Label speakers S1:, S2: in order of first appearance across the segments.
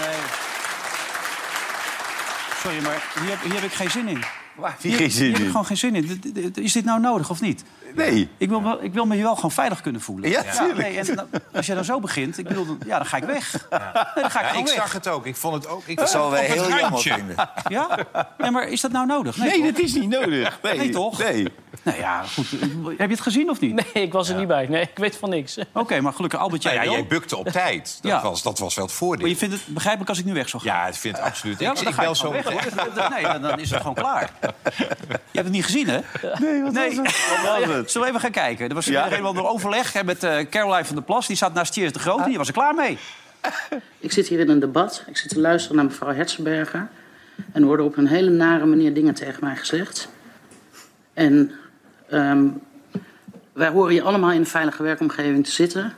S1: Nee. Sorry, maar hier heb, hier heb ik geen zin in.
S2: Waar
S1: Hier,
S2: heb
S1: hier
S2: je geen zin
S1: heb ik
S2: in?
S1: gewoon geen zin in. D- d- d- Is dit nou nodig of niet?
S2: Nee.
S1: Ik wil, wel- ik wil me hier wel gewoon veilig kunnen voelen.
S2: Ja, tuurlijk.
S1: nee, en dan- als jij dan zo begint, ik bedoel, dan- ja, dan ga ik weg. Nee, dan ga ik
S3: Ja,
S1: gewoon
S3: ik
S1: weg.
S3: zag het ook. Ik vond het ook. Ik
S2: Dat zal
S3: op
S2: wij
S3: het
S2: heel jammer
S3: randje.
S2: vinden.
S1: Ja? Nee, maar is dat nou nodig?
S2: Nee,
S1: toch?
S2: dat is niet nodig. Nee,
S1: Nee, toch?
S2: Nee.
S1: Nou ja, goed. Ik bedoel, Heb je het gezien of niet?
S4: Nee, ik was er niet bij. Nee, ik weet van niks.
S1: Oké, maar gelukkig Albert, jij
S3: Nou ja,
S1: wel.
S3: jij bukte op tijd. Dat,
S1: Ja.
S3: was, dat was wel het
S1: Maar je
S3: voordeel.
S1: vindt het begrijpelijk als ik nu weg zou gaan?
S3: Ja, het vindt absoluut.
S1: Ja,
S3: ik
S1: maar
S3: ik
S1: dan ga
S3: bel
S1: ik
S3: zo
S1: gewoon
S3: meteen.
S1: weg. hoor. Dat- Nee, dan, dan is het gewoon klaar. Je hebt het niet gezien, hè?
S2: Nee, wat
S1: Nee.
S2: was het? Wat was het?
S1: Zullen we even gaan kijken? Er was
S2: Ja.
S1: er een door overleg hè, met eh, Caroline van der Plas. Die zat naast Thierry de Groot en die was er klaar mee.
S5: Ik zit hier in een debat. Ik zit te luisteren naar mevrouw Hertzberger. En er worden op een hele nare manier dingen tegen mij gezegd. En ehm, wij horen hier allemaal in een veilige werkomgeving te zitten.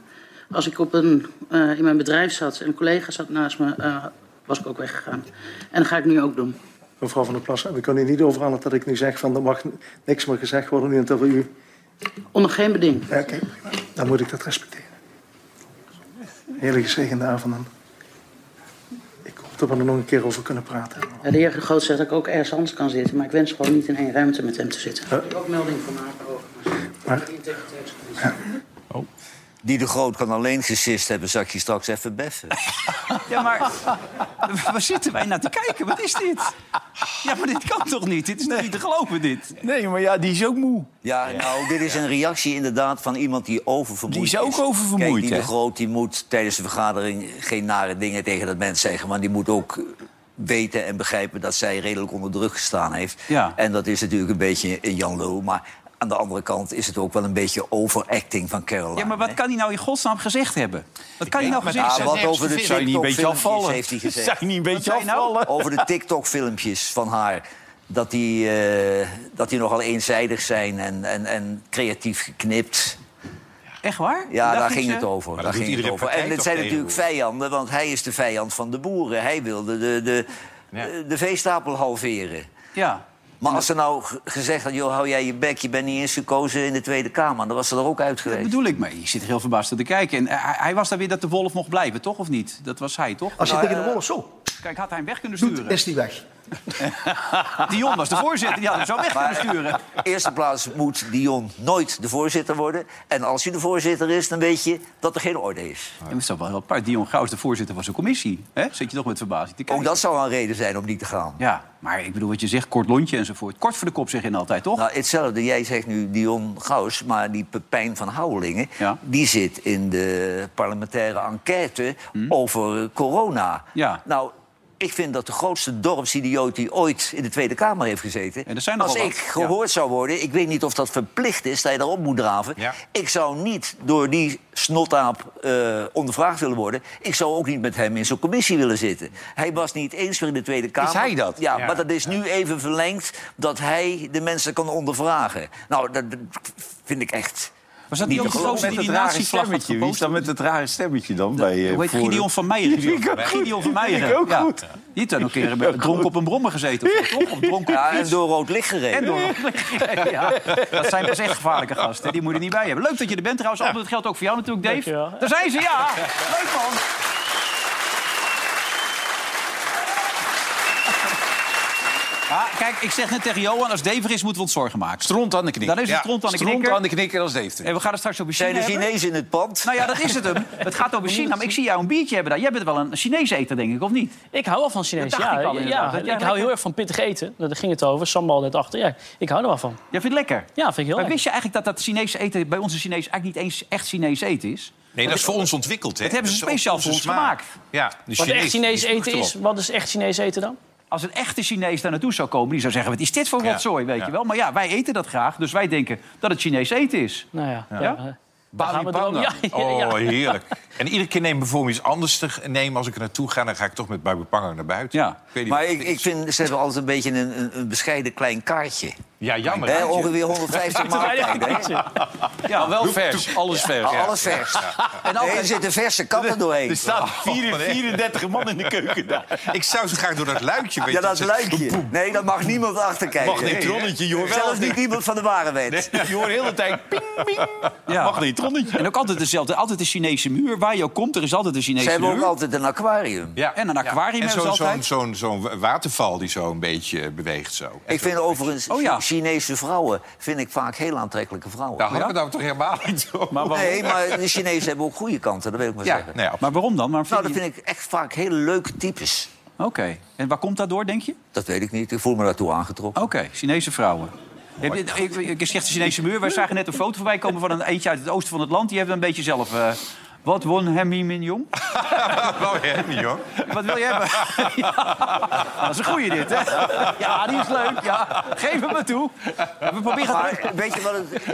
S5: Als ik op een, eh, in mijn bedrijf zat en een collega zat naast me, eh, was ik ook weggegaan. En dat ga ik nu ook doen.
S6: Mevrouw van der Plas, we kunnen hier niet over aan dat ik nu zeg van er mag niks meer gezegd worden nu en terwijl u.
S5: Onder geen beding.
S6: Ja, oké, prima. dan moet ik dat respecteren. Hele gezegende avond. dan. Ik hoop dat we er nog een keer over kunnen praten.
S5: Ja, de heer de Groot zegt dat ik ook ergens anders kan zitten. Maar ik wens gewoon niet in één ruimte met hem te zitten. Ik heb ook melding van maken
S6: Maar-
S5: over. Integriteitscommissie.
S2: Die de Groot kan alleen gesist hebben, zag je straks even beffen.
S1: Ja, maar waar zitten wij naar te kijken? Wat is dit? Ja, maar dit kan toch niet? Dit is toch niet te geloven, dit?
S7: Nee, maar ja, die is ook moe.
S2: Ja, nou, dit is een reactie inderdaad van iemand die oververmoeid
S7: Die is ook oververmoeid,
S2: Kijk, die
S7: hè?
S2: de Groot die moet tijdens de vergadering geen nare dingen tegen dat mens zeggen... maar die moet ook eh, weten en begrijpen dat zij redelijk onder druk gestaan heeft.
S1: Ja.
S2: En dat is natuurlijk een beetje een Jan Loo, maar... Aan de andere kant is het ook wel een beetje overacting van Caroline.
S1: Ja, maar wat
S2: hè?
S1: kan hij nou in godsnaam gezegd hebben? Wat kan hij nou
S3: weet
S1: gezegd
S2: Ja,
S1: hebben?
S2: wat over de
S7: Zou je niet een beetje
S2: TikTok-filmpjes
S7: afvallen?
S2: heeft hij gezegd.
S7: Zou je niet een beetje
S1: zei je nou?
S7: afvallen?
S2: over de TikTok-filmpjes van haar. Dat die, eh, dat die nogal eenzijdig zijn en, en, en creatief geknipt.
S1: Echt waar?
S2: Ja,
S1: Dacht
S2: daar
S1: ik
S2: ging
S1: ze-
S2: het over. Daar
S3: doet
S2: ging het
S3: iedere
S2: over.
S3: partij
S2: En
S3: toch
S2: dit zijn natuurlijk
S3: tegenwoordig?
S2: vijanden, want hij is de vijand van de boeren. Hij wilde de, de, de, de veestapel halveren.
S1: Ja.
S2: Maar als ze nou g- gezegd had, joh, hou jij je bek, je bent niet eens gekozen in de Tweede Kamer... dan was ze er ook uit
S1: Dat
S2: geweest.
S1: bedoel ik, maar je zit heel verbaasd te kijken. En eh, hij, hij was daar weer dat de wolf mocht blijven, toch? Of niet? Dat was hij, toch?
S3: Nou,
S6: Als je
S3: eh,
S6: tegen de wolf zo
S1: Kijk, had hij hem weg kunnen
S6: doet,
S1: sturen.
S6: is die weg.
S1: Dion was de voorzitter, die had hem zo weg kunnen
S2: Maar
S1: sturen.
S2: in de eerste plaats moet Dion nooit de voorzitter worden. En als hij de voorzitter is, dan weet je dat er geen orde
S1: Ja,
S2: is.
S1: maar het is toch wel heel apart. Dion Gauws, de voorzitter van zijn commissie. Hè? Zit je toch met verbazing te kijken?
S2: Ook dat zou een reden zijn om niet te gaan.
S1: Ja, maar ik bedoel wat je zegt, kort lontje enzovoort. Kort voor de kop zeg je altijd, toch?
S2: Nou, hetzelfde. Jij zegt nu Dion Gauws, maar die Pepijn van Houwelingen...
S1: Ja.
S2: die zit in de parlementaire enquête over corona.
S1: Hmm. Ja.
S2: Nou, ik vind dat de grootste dorpsidioot die ooit in de Tweede Kamer heeft gezeten...
S1: En er zijn
S2: als
S1: nogal
S2: ik
S1: wat, ja.
S2: gehoord zou worden, ik weet niet of dat verplicht is... dat je daarop moet draven.
S3: Ja.
S2: Ik zou niet door die snotaap eh, ondervraagd willen worden. Ik zou ook niet met hem in zo'n commissie willen zitten. Hij was niet eens meer in de Tweede Kamer.
S7: hij dat?
S2: Ja, maar dat is nu even verlengd dat hij de mensen kan ondervragen. Nou, dat dat vind ik echt.
S1: was dat
S2: niet
S1: die ook
S2: te
S1: de
S2: geloven.
S1: gozer
S7: Met dat
S1: die die
S7: rare
S1: nazi-vlag had
S7: stemmetje. Wie is
S1: gepost?
S7: dan met dat rare stemmetje dan? bij, eh,
S1: Hoe heet
S7: voor-
S1: Gideon van Meijer?
S7: Die vind ik ook
S1: Gideon
S7: goed.
S1: van Meijer.
S7: Die vind ik ook
S1: ja.
S7: goed.
S1: Die heeft dan ook een keer dronken op een brommer gezeten. Of, zo, toch? of dronken op
S2: Ja,
S1: een
S2: en
S1: fiets.
S2: door rood licht gereden.
S1: En door ja, dat zijn pas echt gevaarlijke gasten. Die moet je er niet bij hebben. Leuk dat je er bent trouwens. Albert, dat geldt ook voor jou natuurlijk, Dave.
S4: Dankjewel.
S1: Daar zijn ze, ja. Leuk man. Ja, kijk, ik zeg net tegen Johan, als Dave er is, moeten we ons zorgen maken.
S3: Stront aan de knikker.
S1: Dan Nou, is het stront aan de Eh,
S3: stront
S1: knikker.
S3: aan de knikker als Dave.
S1: En we gaan het straks over China
S2: Zijn de
S1: hebben.
S2: Chinezen in het pand?
S1: Nou ja, dat is het hem. Het gaat over China, maar ik zie jou een biertje hebben daar. Jij bent wel een Chinees eter, denk ik, of niet?
S4: Ik hou wel van Chinees.
S1: Dat dacht
S4: Ja,
S1: ik al
S4: ja,
S1: inderdaad. Dat
S4: ik
S1: jij
S4: hou
S1: lekker-
S4: heel erg van pittig eten. Daar ging het over. Sambal net achter. Ja, ik hou er wel van.
S1: Jij vindt het lekker?
S4: Ja, vind ik heel
S1: Maar
S4: lekker.
S1: wist je eigenlijk dat dat Chinese eten bij onze Chinees eigenlijk niet eens echt Chinees eten is?
S3: Nee, dat is voor ons ontwikkeld. Hè?
S1: Dat eh, hebben ze
S3: Dat is
S1: speciaal
S3: onze
S1: voor ons
S3: smaak.
S1: gemaakt.
S3: Ja, de
S4: Wat echt Chinees
S3: die
S4: eten
S3: proeft
S4: is,
S3: erop.
S4: wat is echt Chinees eten dan?
S1: Als een echte Chinees daar naartoe zou komen, die zou zeggen: wat is dit voor
S3: Ja,
S1: rotzooi, weet
S3: ja.
S1: je wel? Maar ja, wij eten dat graag, dus wij denken dat het Chinees eten is.
S4: Nou ja. ja.
S1: Ja?
S4: gaan we
S3: Bali
S4: erom-
S3: Panga.
S4: Ja, ja, ja.
S3: Oh, heerlijk. En iedere keer neem ik bijvoorbeeld iets anders te nemen. Als ik er naartoe ga, dan ga ik toch met Babi Panga naar buiten.
S1: Ja.
S3: weet niet
S2: Maar
S3: wat het
S2: ik, ik
S3: is.
S2: vind, ze hebben altijd een beetje een, een, een bescheiden klein kaartje.
S3: Ja, jammer.
S2: Hè,
S3: hè?
S2: ongeveer 150 maaltijden. hè?
S1: Ja, wel
S3: vers.
S1: Alles vers.
S2: Alles vers.
S1: En
S2: Nee, er
S1: altijd,
S2: zitten verse kappen doorheen.
S7: Er staat 34 man in de keuken daar.
S3: Ik zou zo graag door dat luikje... weet
S2: Ja,
S3: je,
S2: dat luikje. Nee, daar mag niemand achter kijken.
S7: Mag niet tronnetje, joh.
S2: Zelfs niet iemand van de warenwet.
S7: Je hoort de hele tijd ping, ping.
S1: Ja.
S7: Mag niet tronnetje.
S1: en ook altijd dezelfde. Altijd de Chinese muur. Waar je ook komt, er is altijd een
S2: Ze
S1: Chinese
S2: hebben ook
S1: muur.
S2: altijd een aquarium.
S3: Ja.
S1: En een aquarium
S3: En
S1: hebben ze
S3: zo'n zo'n
S1: altijd.
S3: zo'n zo'n waterval die zo een beetje beweegt zo.
S2: Ik vind overigens
S1: Oh, ja.
S2: Chinese vrouwen vind ik vaak heel aantrekkelijke vrouwen.
S3: Daar hadden we nou toch helemaal niet over.
S2: nee, maar de Chinezen hebben ook goede kanten, dat wil ik maar
S3: Ja,
S2: zeggen.
S3: nee, absoluut.
S1: Maar waarom dan? Waarom
S2: Nou,
S1: vind
S2: dat
S1: je-
S2: vind ik echt vaak hele leuke types.
S1: Oké. En waar komt dat door, denk je?
S2: Dat weet ik niet, ik voel me daartoe aangetrokken.
S1: Oké, Chinese vrouwen. Heb je, ik, ik zeg de Chinese muur. Wij zagen net een foto voorbij komen van een eentje uit het oosten van het land. Die hebben een beetje zelf... eh, wat won hem min jong?
S3: Wel weer niet, hoor.
S1: Wat wil je hebben? Ja, dat is een goeie dit, hè? Ja, die is leuk. Ja. Geef hem maar toe. We proberen het
S2: Maar weet je wat, het-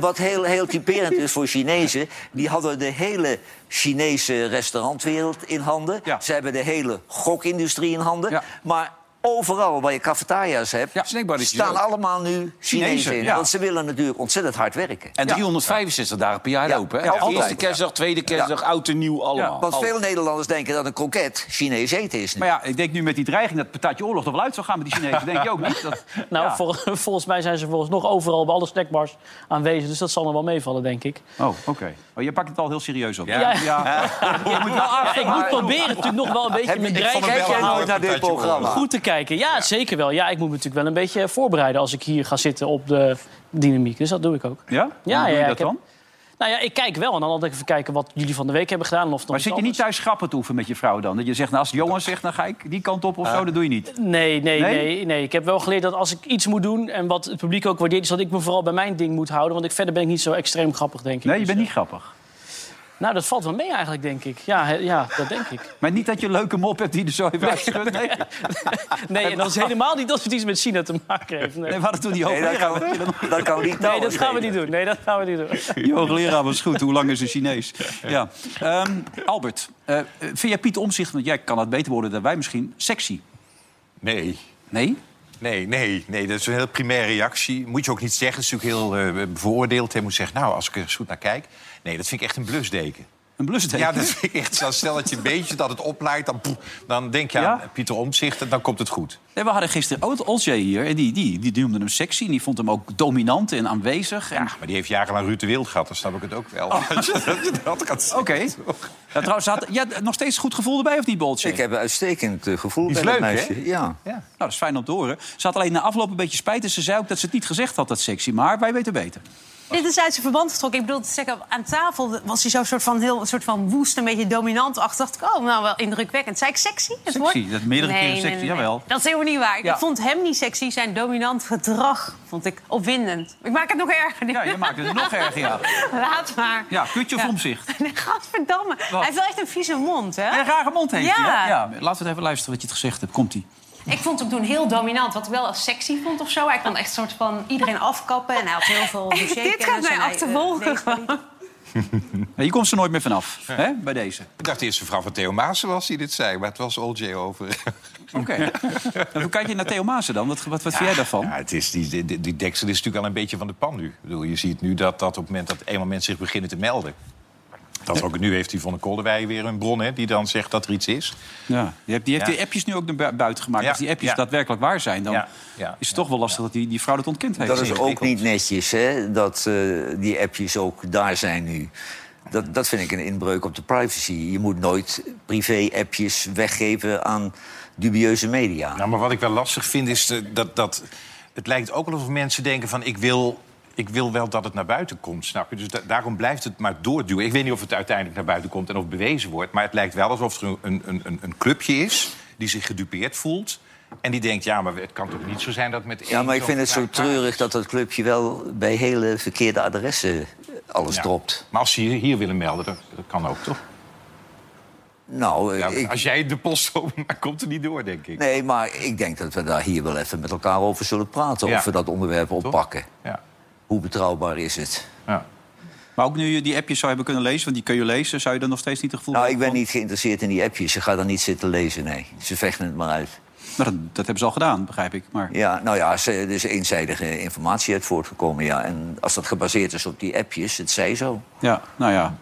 S2: wat heel, heel typerend is voor Chinezen? Die hadden de hele Chinese restaurantwereld in handen.
S1: Ja.
S2: Ze hebben de hele gokindustrie in handen.
S1: Ja.
S2: Maar overal waar je cafetaria's hebt,
S1: Ja, snackbarretjes
S2: staan
S1: ook.
S2: allemaal nu Chinezen
S1: Chinezen,
S2: in.
S1: ja.
S2: Want ze willen natuurlijk ontzettend hard werken.
S8: En 365 dagen per jaar
S2: Ja.
S8: open. Hè?
S2: Ja,
S8: Eerste
S2: altijd.
S8: kerstdag, tweede kerstdag, oud en nieuw, allemaal.
S2: Want veel Nederlanders denken dat een kroket Chinees eten is. nu.
S1: Maar ja, ik denk nu met die dreiging dat patatje oorlog er wel uit zou gaan met die Chinezen. Denk je ook niet? Dat,
S4: Nou,
S1: ja.
S4: vol- volgens mij zijn ze volgens nog overal bij alle snackbars aanwezig. Dus dat zal nog wel meevallen, denk ik.
S1: Oh, oké. Oh, je pakt het al heel serieus op.
S4: Ja.
S1: Je moet wel
S4: Ja, ik
S1: aardig
S4: moet proberen natuurlijk nog wel een beetje
S2: Heb je-
S4: mijn
S2: ik
S4: dreiging
S2: vond het wel
S4: Kijk jij
S2: een
S4: nou
S2: mooi naar dit
S3: patatje
S2: programma.
S3: oorlog.
S4: goed te kijken. Ja, zeker wel. Ja, ik moet me natuurlijk wel een beetje voorbereiden als ik hier ga zitten op de dynamiek. Dus dat doe ik ook.
S1: Ja?
S4: Ja,
S1: Hoe doe
S4: ja,
S1: je
S4: ik
S1: dat
S4: heb-
S1: dan?
S4: Nou ja, ik kijk wel. En dan altijd even kijken wat jullie van de week hebben gedaan. En of er nog
S1: Maar
S4: iets
S1: zit je niet thuis grappen te oefenen met je vrouw dan? Dat je zegt, nou, als Johan zegt, dan ga ik die kant op of zo. Dat doe je niet.
S4: Nee, nee,
S1: Nee?
S4: nee, nee, Ik heb wel geleerd dat als ik iets moet doen en wat het publiek ook waardeert, is dat ik me vooral bij mijn ding moet houden. Want ik, verder ben ik niet zo extreem grappig, denk ik.
S1: Nee, je
S4: Dus,
S1: bent
S4: eh,
S1: niet grappig.
S4: Nou, dat valt wel mee eigenlijk, denk ik. Ja, hè, ja dat denk ik.
S1: Maar niet dat je een leuke mop hebt die er zo even uitschudt. Nee.
S4: Nee, en dat is helemaal niet dat het iets met China te maken heeft. Nee,
S1: nee, we hadden toen die
S2: Nee, dat
S1: hoogleraar.
S2: kan, dat kan niet.
S4: nee dat gaan we niet doen. Nee, dat gaan we niet doen.
S1: Die hoogleraar was goed. Hoe lang is een Chinees? Ja. Ehm, Albert, eh, eh, vind jij Piet Omzicht, want jij kan het beter worden dan wij misschien, sexy?
S3: Nee.
S1: Nee?
S3: Nee, nee, nee, dat is een heel primaire reactie. Moet je ook niet zeggen. Dat is natuurlijk heel eh, bevooroordeeld. Je moet zeggen, nou, als ik er eens goed naar kijk... Nee, dat vind ik echt een blusdeken.
S1: Een blusdeken?
S3: Ja, dat vind ik echt zo. Stel dat je een beetje dat het oplaait, dan, poef, dan denk je
S1: Ja?
S3: aan Pieter Omtzigt en dan komt het goed.
S1: Nee, we hadden gisteren Oud- Olsje hier en die, die, die noemde hem sexy. En die vond hem ook dominant en aanwezig. En...
S3: Maar die heeft jarenlang Ruud de Wild gehad, dan snap ik het ook wel. Dat je dat- dat kan
S1: Oké. Ja, trouwens, had, jij had nog steeds goed gevoel erbij of niet, Boltje?
S2: Ik heb een uitstekend eh, gevoel
S3: Die is
S2: bij dat
S3: leuk, hè?
S2: meisje. Ja.
S1: Nou, dat is fijn om te horen. Ze had alleen na afloop een beetje spijt. En ze zei ook dat ze het niet gezegd had, dat sexy. Maar wij weten beter.
S9: Dit is uit zijn verband getrokken. Ik bedoel te zeggen, aan tafel was hij zo soort van heel soort van woest, een beetje dominant-achtig. Dacht ik, oh, nou wel indrukwekkend. Zei ik sexy? Het
S1: Sexy,
S9: woord?
S1: dat meerdere keren sexy, jawel.
S9: Dat is helemaal niet waar.
S1: Ja.
S9: Ik vond hem niet sexy. Zijn dominant gedrag vond ik opwindend. Ik maak het nog erger.
S1: Ja, je maakt het nog erger, ja.
S9: Laat maar.
S1: Ja, kutje of omzicht?
S9: Nee, gadverdamme. Hij heeft wel echt een vieze mond, hè?
S1: En een rare mond heeft hij, hè?
S9: Ja.
S1: ja. Laten we het even luisteren wat je het gezegd hebt. Komt-ie.
S9: Ik vond hem toen heel dominant, wat ik wel als sexy vond of zo. Hij kon echt soort van iedereen afkappen en hij had heel veel
S10: Dit gaat mij achtervolgen.
S1: Ja, je komt ze nooit meer vanaf, hè, bij deze.
S3: Ik dacht eerst een vrouw van Theo Maassen was die dit zei, maar het was OJ over.
S1: Oké. en hoe kijk je naar Theo Maassen dan? Wat, wat, wat vind jij daarvan?
S3: Ja, het is, die, die, die deksel is natuurlijk al een beetje van de pan nu. Ik bedoel, je ziet nu dat, dat op het moment dat eenmaal mensen zich beginnen te melden... Dat ook nu heeft Yvonne Kolderwij weer een bron hè, die dan zegt dat er iets is.
S1: Ja. Die heeft, die, heeft
S3: Ja.
S1: die appjes nu ook naar bui- buiten gemaakt.
S3: Ja,
S1: Als die appjes
S3: ja.
S1: daadwerkelijk waar zijn, dan
S3: Ja, ja,
S1: is het toch wel lastig dat die, die vrouw dat ontkend heeft.
S2: Dat is ook niet netjes, hè, dat eh, die appjes ook daar zijn nu. Dat, dat vind ik een inbreuk op de privacy. Je moet nooit privé-appjes weggeven aan dubieuze media.
S3: Nou, maar wat ik wel lastig vind is de- dat, dat het lijkt ook alsof mensen denken van ik wil, ik wil wel dat het naar buiten komt, snap je? Dus da- daarom blijft het maar doorduwen. Ik weet niet of het uiteindelijk naar buiten komt en of het bewezen wordt, maar het lijkt wel alsof er een, een, een, een clubje is die zich gedupeerd voelt en die denkt ja, maar het kan toch niet zo zijn dat met
S2: ja,
S3: één
S2: maar ik
S3: zo'n
S2: vind het zo
S3: klein paar-
S2: treurig dat dat clubje wel bij hele verkeerde adressen alles
S3: Ja.
S2: dropt.
S3: Maar als ze hier, hier willen melden, dat, dat kan ook toch?
S2: Nou, eh,
S3: Ja,
S2: ik,
S3: Als jij de post opent, dan komt er niet door, denk ik.
S2: nee, maar ik denk dat we daar hier wel even met elkaar over zullen praten.
S3: Ja.
S2: Of we dat onderwerp oppakken.
S3: Ja.
S2: Hoe betrouwbaar is het?
S3: Ja.
S1: Maar ook nu je die appjes zou hebben kunnen lezen, want die kun je lezen, zou je dan nog steeds niet het gevoel
S2: Nou, ik
S1: hebben
S2: ben niet geïnteresseerd in die appjes. Ze gaat dan niet zitten lezen, nee. Ze vechten het maar uit.
S1: dat, hebben ze al gedaan, begrijp ik. Maar...
S2: Ja, nou ja, ze, er is eenzijdige informatie uit voortgekomen, ja. En als dat gebaseerd is op die appjes, het zij zo.
S1: Ja, nou ja,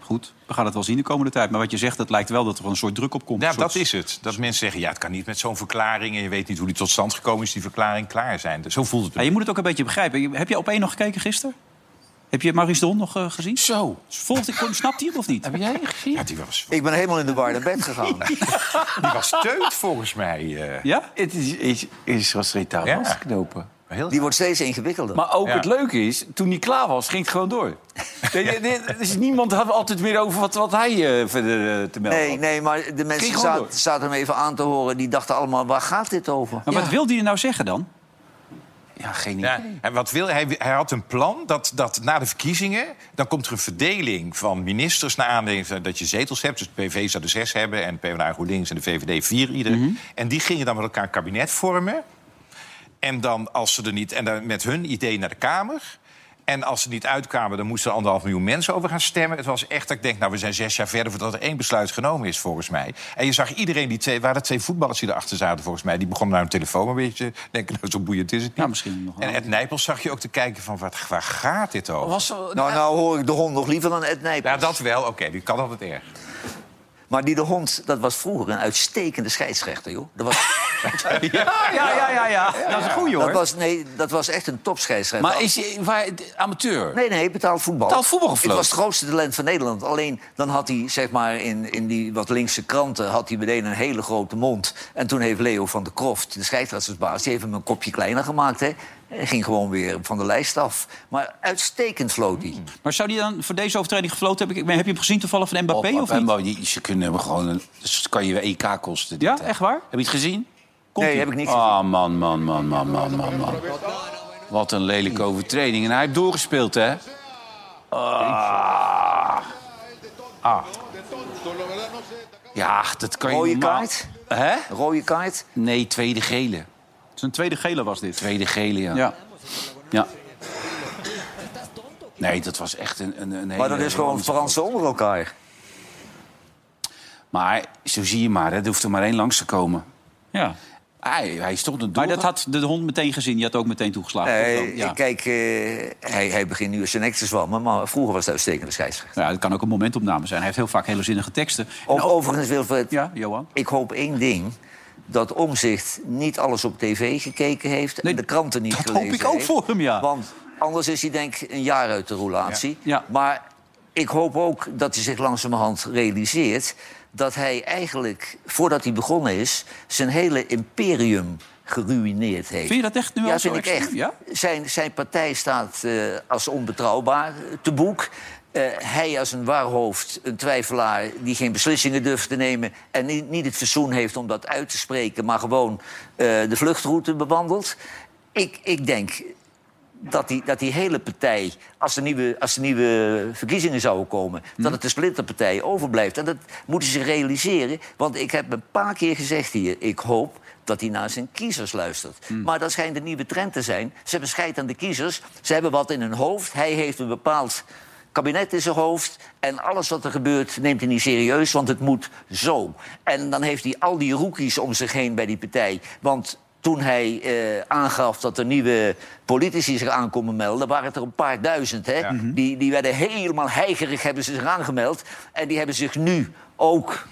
S1: goed. We gaan het wel zien de komende tijd. Maar wat je zegt, het lijkt wel dat er een soort druk op komt.
S3: Ja,
S1: Een soort-
S3: Nou, dat is het. Dat mensen zeggen, ja, het kan niet met zo'n verklaring... en je weet niet hoe die tot stand gekomen is, die verklaring klaar zijn. Dus Zo voelt het.
S1: Ja, je moet het ook een beetje begrijpen. Je- Heb je op één nog gekeken gisteren? Heb je Maurice Don nog eh, gezien? Zo. Volgde, kon, snapt hij hem of niet? Heb jij gezien? Ja,
S3: die was...
S2: Ik ben helemaal in de war naar bed gegaan.
S3: Die was teut, volgens mij. eh.
S1: Ja?
S8: Het is, is, is was retaal
S3: Ja.
S8: vastknopen.
S2: Die wordt steeds ingewikkelder.
S8: Maar ook
S2: Ja.
S8: het leuke is, toen hij klaar was, ging het gewoon door. Nee, nee, nee, dus niemand had altijd meer over wat, wat hij eh, verder eh, te melden
S2: Nee,
S8: had.
S2: nee, maar de mensen
S8: gewoon
S2: zaten,
S8: door.
S2: zaten hem even aan te horen. Die dachten allemaal, waar gaat dit over?
S1: Maar wat wilde hij nou zeggen dan?
S8: Ja, geen
S3: Ja, en wat wil, hij, hij had een plan dat, dat na de verkiezingen... dan komt er een verdeling van ministers naar aanleiding van dat je zetels hebt. Dus de PV zou er zes hebben en PvdA GroenLinks en de VVD vier ieder.
S1: Mhm.
S3: En die gingen dan met elkaar een kabinet vormen. En dan als ze er niet... En dan met hun idee naar de Kamer... En als ze niet uitkwamen, dan moesten er anderhalf miljoen mensen over gaan stemmen. Het was echt dat ik denk, nou, we zijn zes jaar verder voordat er één besluit genomen is, volgens mij. En je zag iedereen, die twee, waren twee voetballers die erachter zaten, volgens mij. Die begonnen naar hun telefoon een beetje. Denken, nou, zo boeiend is het niet.
S1: misschien nog
S3: En Ed Nijpels zag je ook te kijken van, wat, waar gaat dit over?
S2: Nou, nou hoor ik de hond nog liever dan Ed Nijpels.
S3: Ja, dat wel. Oké, die kan altijd erg.
S2: Maar die de hond, dat was vroeger een uitstekende scheidsrechter, joh. Dat was...
S1: Ja, ja, ja, ja, ja. Dat is een goeie, hoor.
S2: Dat was, nee, dat was echt een topscheidsrechter.
S8: Maar is hij waar, d- amateur?
S2: Nee, nee, betaald voetbal.
S8: Betaald voetbal
S2: Het
S8: gefloten.
S2: was het grootste talent van Nederland. Alleen dan had hij, zeg maar, in, in die wat linkse kranten... had hij meteen een hele grote mond. En toen heeft Leo van der Kroft, de scheidsrechtersbaas... die heeft hem een kopje kleiner gemaakt, hè. Hij ging gewoon weer van de lijst af. Maar uitstekend floot
S8: Hmm.
S2: hij.
S1: Maar zou die dan voor deze overtreding gefloten hebben? Ik ben- Heb je hem gezien toevallig van Mbappé
S8: Op-
S1: of
S8: op-
S1: niet?
S8: maar die- Ze kunnen hem gewoon... een- dus kan je weer EK kosten. dit,
S1: Ja,
S8: hè.
S1: echt waar?
S8: Heb je het gezien?
S1: Nee, heb ik niet
S8: gezien. Oh, man, man, man, man, man, man, man. Wat een lelijke overtreding. En hij heeft doorgespeeld, hè? Ah. Ah. Ja, dat kan je
S2: Rode
S8: normaal-
S2: kaart?
S8: Hè?
S2: Rode kaart?
S8: Nee, tweede gele.
S1: Zijn tweede gele was dit?
S8: Tweede gele, ja.
S1: Ja.
S8: Ja. Nee, dat was echt een, een, een
S2: Maar dat is gewoon Fransen onder elkaar.
S8: Maar zo zie je maar, hè. er hoeft er maar één langs te komen.
S1: Ja.
S8: Hij, hij stond een doel.
S1: Maar dat had de hond meteen gezien. Die had ook meteen toegeslagen.
S2: Nee,
S1: ja.
S2: Kijk, eh, hij, hij begint nu zijn nek te zwammen... maar vroeger was hij uitstekende scheidsrechter.
S1: Nou ja, het kan ook een momentopname zijn. Hij heeft heel vaak hele zinnige teksten.
S2: Of, overigens, Wilfred,
S1: Ja, Johan?
S2: ik hoop één ding. Dat Omzicht niet alles op tv gekeken heeft en de kranten niet
S1: dat hoop
S2: gelezen
S1: ik ook
S2: heeft.
S1: voor hem, ja.
S2: Want anders is hij denk ik een jaar uit de roulatie.
S1: Ja. Ja.
S2: Maar ik hoop ook dat hij zich langzamerhand realiseert... dat hij eigenlijk, voordat hij begonnen is... zijn hele imperium geruineerd heeft.
S1: Vind je dat echt nu
S2: ja,
S1: al zo
S2: vind ik
S1: extreem?
S2: echt.
S1: Ja?
S2: Zijn, zijn partij staat eh, als onbetrouwbaar te boek. Eh, hij als een waarhoofd, een twijfelaar die geen beslissingen durft te nemen... en niet, niet het verzoen heeft om dat uit te spreken... maar gewoon eh, de vluchtroute bewandelt. Ik, ik denk dat die, dat die hele partij, als er nieuwe, als er nieuwe verkiezingen zouden komen... dat het de splinterpartij overblijft. En dat moeten ze realiseren. Want ik heb een paar keer gezegd hier... ik hoop dat hij naar zijn kiezers luistert. Maar dat schijnt een nieuwe trend te zijn. Ze hebben scheid aan de kiezers. Ze hebben wat in hun hoofd. Hij heeft een bepaald kabinet in zijn hoofd. En alles wat er gebeurt neemt hij niet serieus, want het moet zo. En dan heeft hij al die rookies om zich heen bij die partij. Want toen hij eh, aangaf dat er nieuwe politici zich aankomen melden... waren het er een paar duizend, hè? Die, die werden helemaal heigerig, hebben ze zich aangemeld. En die hebben zich nu ook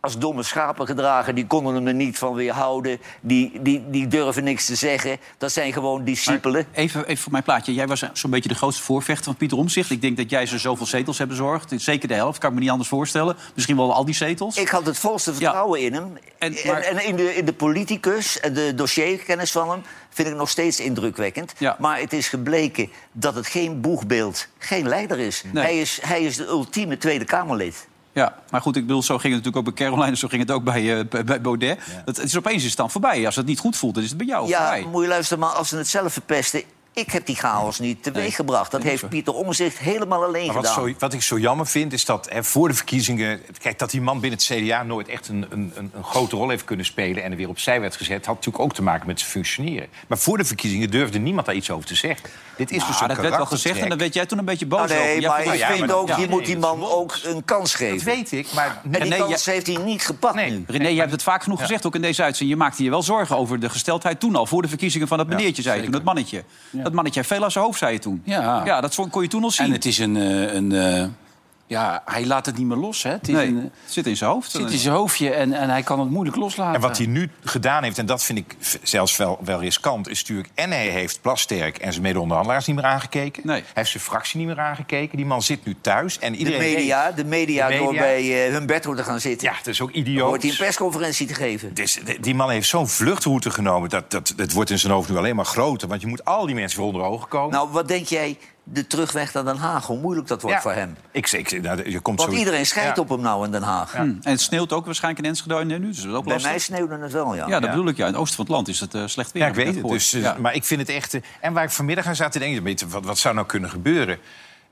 S2: als domme schapen gedragen. Die konden hem er niet van weerhouden. Die, die, die durven niks te zeggen. Dat zijn gewoon discipelen.
S1: Even, even voor mijn plaatje. Jij was zo'n beetje de grootste voorvechter van Pieter Omzicht. Ik denk dat jij ze zoveel zetels hebt bezorgd. Zeker de helft, kan ik me niet anders voorstellen. Misschien wel al die zetels.
S2: Ik had het volste vertrouwen in hem. En,
S1: maar-
S2: en, in, de, in de politicus en de dossierkennis van hem vind ik nog steeds indrukwekkend.
S1: Ja.
S2: Maar het is gebleken dat het geen boegbeeld, geen leider is.
S1: Nee.
S2: Hij, is hij is de ultieme Tweede Kamerlid.
S1: Ja, maar goed, ik bedoel, zo ging het natuurlijk ook bij Caroline... en zo ging het ook bij, eh, bij- bij Baudet. Dat, het is opeens is het dan voorbij. Als het niet goed voelt, dan is het bij jou
S2: ja,
S1: voorbij.
S2: moet je luisteren, maar als ze het zelf verpesten... Ik heb die chaos niet teweeggebracht. Dat heeft Pieter Omzicht helemaal alleen
S3: Maar wat,
S2: gedaan.
S3: zo, wat ik zo jammer vind, is dat hè, voor de verkiezingen... Kijk, dat die man binnen het CDA nooit echt een, een, een, een grote rol heeft kunnen spelen... en er weer opzij werd gezet, had natuurlijk ook te maken met zijn functioneren. Maar voor de verkiezingen durfde niemand daar iets over te zeggen. Dit is
S1: Nou,
S3: dus een
S1: dat werd wel gezegd en
S3: karaktertrek.
S1: dan werd jij toen een beetje
S3: Oh,
S1: boos
S2: Nou, nee,
S1: over. Jij
S2: maar
S1: vond-
S2: ik
S1: ja,
S2: vind
S1: maar-
S2: ook,
S1: ja.
S2: je moet die man ook een kans geven.
S3: Dat weet ik, maar...
S2: En die
S1: René,
S2: kans heeft hij niet gepakt nu.
S1: René, je hebt het vaak genoeg gezegd, ook in deze uitzending. Je maakte je wel zorgen over de gesteldheid toen al. Voor de verkiezingen van dat meneertje, zei je toen. Dat mannetje. Dat mannetje heeft veel aan zijn hoofd, zei je toen.
S8: Ja.
S1: ja dat zo- kon je toen al zien.
S8: En het is een... eh, een eh, ja, hij laat het niet meer los, hè? Het is
S1: Nee,
S8: een,
S1: het zit in zijn hoofd. Eh,
S8: het zit in zijn hoofdje en, en hij kan het moeilijk loslaten.
S3: En wat hij nu gedaan heeft, en dat vind ik v- zelfs wel, wel riskant... is natuurlijk, en hij heeft Plasterk en zijn medeonderhandelaars niet meer aangekeken. Hij heeft zijn fractie niet meer aangekeken. Die man zit nu thuis en
S2: De
S3: iedereen...
S2: media, de media,
S3: De media.
S2: door bij eh, Humberto te gaan zitten.
S3: Ja, dat is ook
S2: Dan
S3: idioot.
S2: Hoort hij een persconferentie te geven.
S3: Dus de- die man heeft zo'n vluchtroute genomen. Dat, dat, dat wordt in zijn hoofd nu alleen maar groter. Want je moet al die mensen voor onder ogen komen.
S2: Nou, wat denk jij, de terugweg naar Den Haag, hoe moeilijk dat wordt
S3: Ja.
S2: voor hem?
S3: Ik, ik, nou, je komt
S2: Want
S3: zo...
S2: iedereen scheidt
S3: Ja.
S2: op hem nou in Den Haag.
S1: Hm. En het sneeuwt ook waarschijnlijk in Enschede nu. Dus dat is ook
S2: Bij
S1: lastig.
S2: mij sneeuwde het wel, ja.
S1: Ja, dat bedoel ik. Ja. In het oosten van het land is het eh, slecht weer.
S3: Ja, ik
S1: heb net
S3: weet het.
S1: gehoord.
S3: Dus,
S1: Ja.
S3: Maar ik vind het echt... eh, En waar ik vanmiddag aan zat te denken... weet je, Wat, wat zou nou kunnen gebeuren?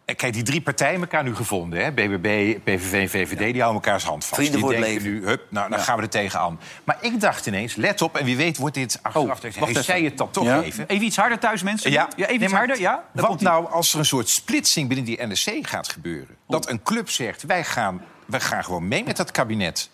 S3: Eh, Kijk, die drie partijen elkaar nu gevonden. Hè? BBB, PVV en VVD, die houden elkaars hand vast.
S2: Vrienden
S3: die
S2: voor het
S3: denken nu, hup, nou, dan gaan we er tegenaan. Maar ik dacht ineens, let op, en wie weet wordt dit achteraf... Oh,
S1: wacht
S3: heeft zij
S1: even.
S3: het dan toch
S1: Ja.
S3: even?
S1: Even iets harder thuis, mensen. Ja, even
S3: nee,
S1: iets
S3: maar
S1: harder. Ja, Daar
S3: Wat
S1: komt-ie.
S3: nou als er een soort splitsing binnen die NSC gaat gebeuren? Dat een club zegt, wij gaan, wij gaan gewoon mee met dat kabinet.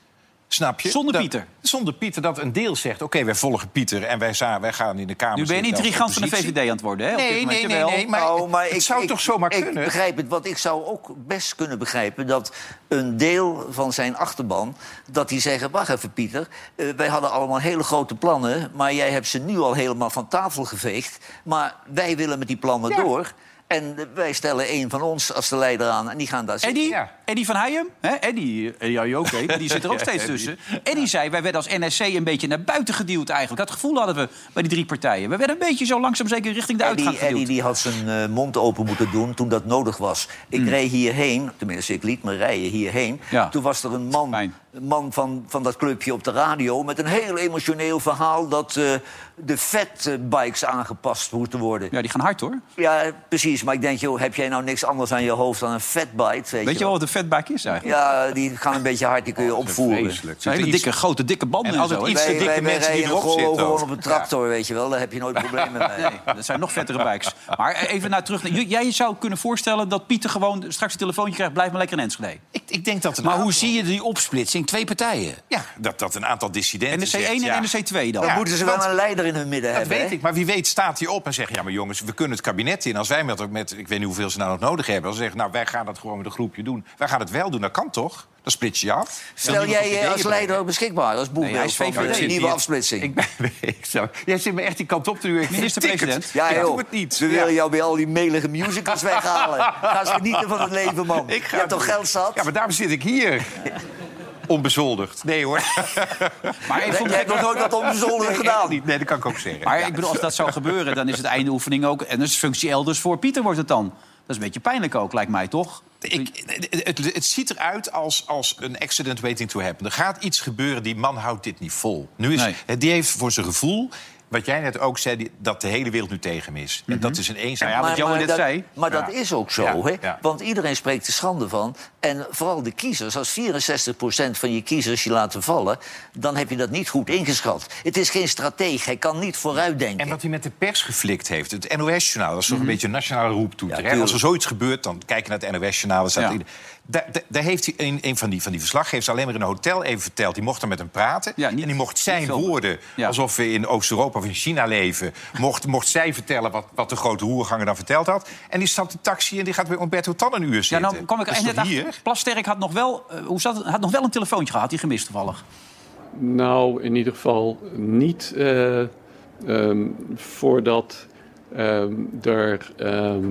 S3: Snap je?
S1: Zonder
S3: Dat-
S1: Pieter.
S3: Zonder Pieter, dat een deel zegt... oké, wij volgen Pieter en wij, za- wij gaan in de Kamer
S1: Nu ben je niet
S3: zitten als
S1: gigant van de
S3: oppositie.
S1: VVD aan het worden, hè? op dit
S3: Nee,
S1: moment.
S3: nee, nee,
S1: Jawel.
S3: nee, maar
S2: Nou, maar
S3: het
S2: ik,
S3: zou
S2: ik-
S3: toch zomaar
S2: ik
S3: kunnen?
S2: begrijp het, want ik zou ook best kunnen begrijpen... dat een deel van zijn achterban, dat die zeggen... wacht even, Pieter, eh, wij hadden allemaal hele grote plannen... maar jij hebt ze nu al helemaal van tafel geveegd. Maar wij willen met die plannen door... en eh, wij stellen één van ons als de leider aan en die gaan daar zitten.
S1: Eddie, Eddie van Heijem, hè? Eddie, eh, ja, ja, oké, maar die zit er ook steeds tussen. Eddie zei, wij werden als NSC een beetje naar buiten geduwd eigenlijk. Dat gevoel hadden we bij die drie partijen. We werden een beetje zo langzaam zeker richting de uitgang
S2: Eddie,
S1: geduwd.
S2: Eddie die had zijn eh, mond open moeten doen toen dat nodig was. Ik
S3: Hmm.
S2: reed hierheen, tenminste ik liet me rijden hierheen.
S1: Ja.
S2: Toen was er een man, een man van, van dat clubje op de radio... met een heel emotioneel verhaal dat eh, de fatbikes aangepast moeten worden.
S1: Ja, die gaan hard, hoor.
S2: Ja, precies. Maar ik denk, joh, heb jij nou niks anders aan je hoofd dan een fatbike? Weet,
S1: Weet je wel wat een fatbike is eigenlijk?
S2: Ja, die gaan een beetje hard, die kun je opvoeren.
S1: Het zijn hele dikke, grote, dikke banden
S3: En
S1: en,
S3: altijd
S1: zo. hè?
S3: Oh, iets te
S2: Wij-
S3: dikke
S2: wij- wij
S3: mensen die
S2: rijden
S3: erop
S2: gewoon,
S3: zitten ook.
S2: gewoon op een tractor, weet je wel. Daar heb je nooit problemen mee.
S1: Nee, dat zijn nog vettere bikes. Maar eh, even naar terug. J- Jij zou kunnen voorstellen dat Pieter gewoon straks een telefoontje krijgt... blijf maar lekker in Enschede.
S3: Ik, ik denk dat een
S8: Maar
S3: aantal-
S8: hoe zie je die opsplitsing? Twee partijen.
S3: Ja, dat, dat een aantal dissidenten
S1: NSC 1
S3: zegt,
S1: en
S3: ja,
S1: NSC 2 dan.
S2: Dan
S3: Ja,
S2: moeten ze wel
S3: want-
S2: een leider in hun midden
S3: Dat
S2: hebben. Eh, hè?
S3: weet ik, maar wie weet staat hij op en zegt... ja, maar jongens, we kunnen het kabinet in. Als wij met, met ik weet niet hoeveel ze nou nog nodig hebben... dan zeggen nou, wij gaan dat gewoon met een groepje doen. Wij gaan het wel doen, dat kan toch? Dan split je je af.
S2: Stel jij eh, als leider ook beschikbaar, als
S1: Nee, hij
S2: boekbeeld
S1: is
S2: van
S1: VVD.
S2: de nieuwe afsplitsing.
S3: Ik ben, ik zou, jij zit me echt die kant op te duwen. Ik
S1: Minister-president.
S3: tik het.
S2: ja,
S3: ik
S2: joh,
S3: doe het niet.
S2: we willen jou bij al die melige musicals weghalen. Ga eens genieten van het leven, man.
S3: Ik ga
S2: je hebt toch
S3: doen.
S2: geld zat?
S3: Ja, maar daarom zit ik hier. Onbezoldigd. Nee hoor.
S1: Maar
S2: Jij-
S1: even om-
S2: Jij hebt nog nooit wat onbezoldigd
S3: Nee, echt
S2: gedaan.
S3: niet. Nee, dat kan ik ook zeggen.
S1: Maar
S3: Ja.
S1: ik bedoel, als dat zou gebeuren, dan is het einde oefening ook. En dus functie elders voor Pieter wordt het dan. Dat is een beetje pijnlijk ook, lijkt mij toch?
S3: Ik, het, het ziet eruit als, als een accident waiting to happen. Er gaat iets gebeuren, die man houdt dit niet vol. Nu is,
S1: Nee.
S3: het- Die heeft voor zijn gevoel, wat jij net ook zei... die- dat de hele wereld nu tegen hem is. En dat is een
S1: Nou
S3: eenzaamheid.
S1: ja, wat Johan net
S2: dat,
S1: zei.
S2: maar dat
S3: Ja.
S2: is ook zo,
S3: Ja,
S2: hè?
S3: ja.
S2: Want iedereen spreekt de schande van. En vooral de kiezers. Als 64% van je kiezers je laten vallen... dan heb je dat niet goed ingeschat. Het is geen strateeg. Hij kan niet vooruitdenken.
S3: En wat hij met de pers geflikt heeft. Het NOS-journaal, dat is toch
S1: Mhm.
S3: een beetje een nationale
S2: Ja,
S3: roeptoeter. hè?
S2: tuurlijk.
S3: Als er zoiets gebeurt, dan kijken we naar het NOS-journaal.
S1: Ja.
S3: Daar, daar, daar heeft hij een, een van die, van die verslaggevers alleen maar in een hotel even verteld. Die mocht er met hem praten.
S1: Ja, niet-
S3: en die mocht zijn
S1: niet filmen.
S3: woorden,
S1: Ja.
S3: alsof we in Oost-Europa of in China leven... mocht, mocht zij vertellen wat, wat de grote roerganger dan verteld had. En die stapt de taxi en die gaat bij Umberto Tan een uur
S1: Ja,
S3: zitten.
S1: nou kwam ik
S3: Dat
S1: er
S3: is
S1: echt net
S3: toch
S1: achter.
S3: hier?
S1: Plasterk had nog wel, eh, hoe zat het? had nog wel een telefoontje gehad, die gemist toevallig.
S11: Nou, in ieder geval niet eh, ehm, voordat ehm, er ehm,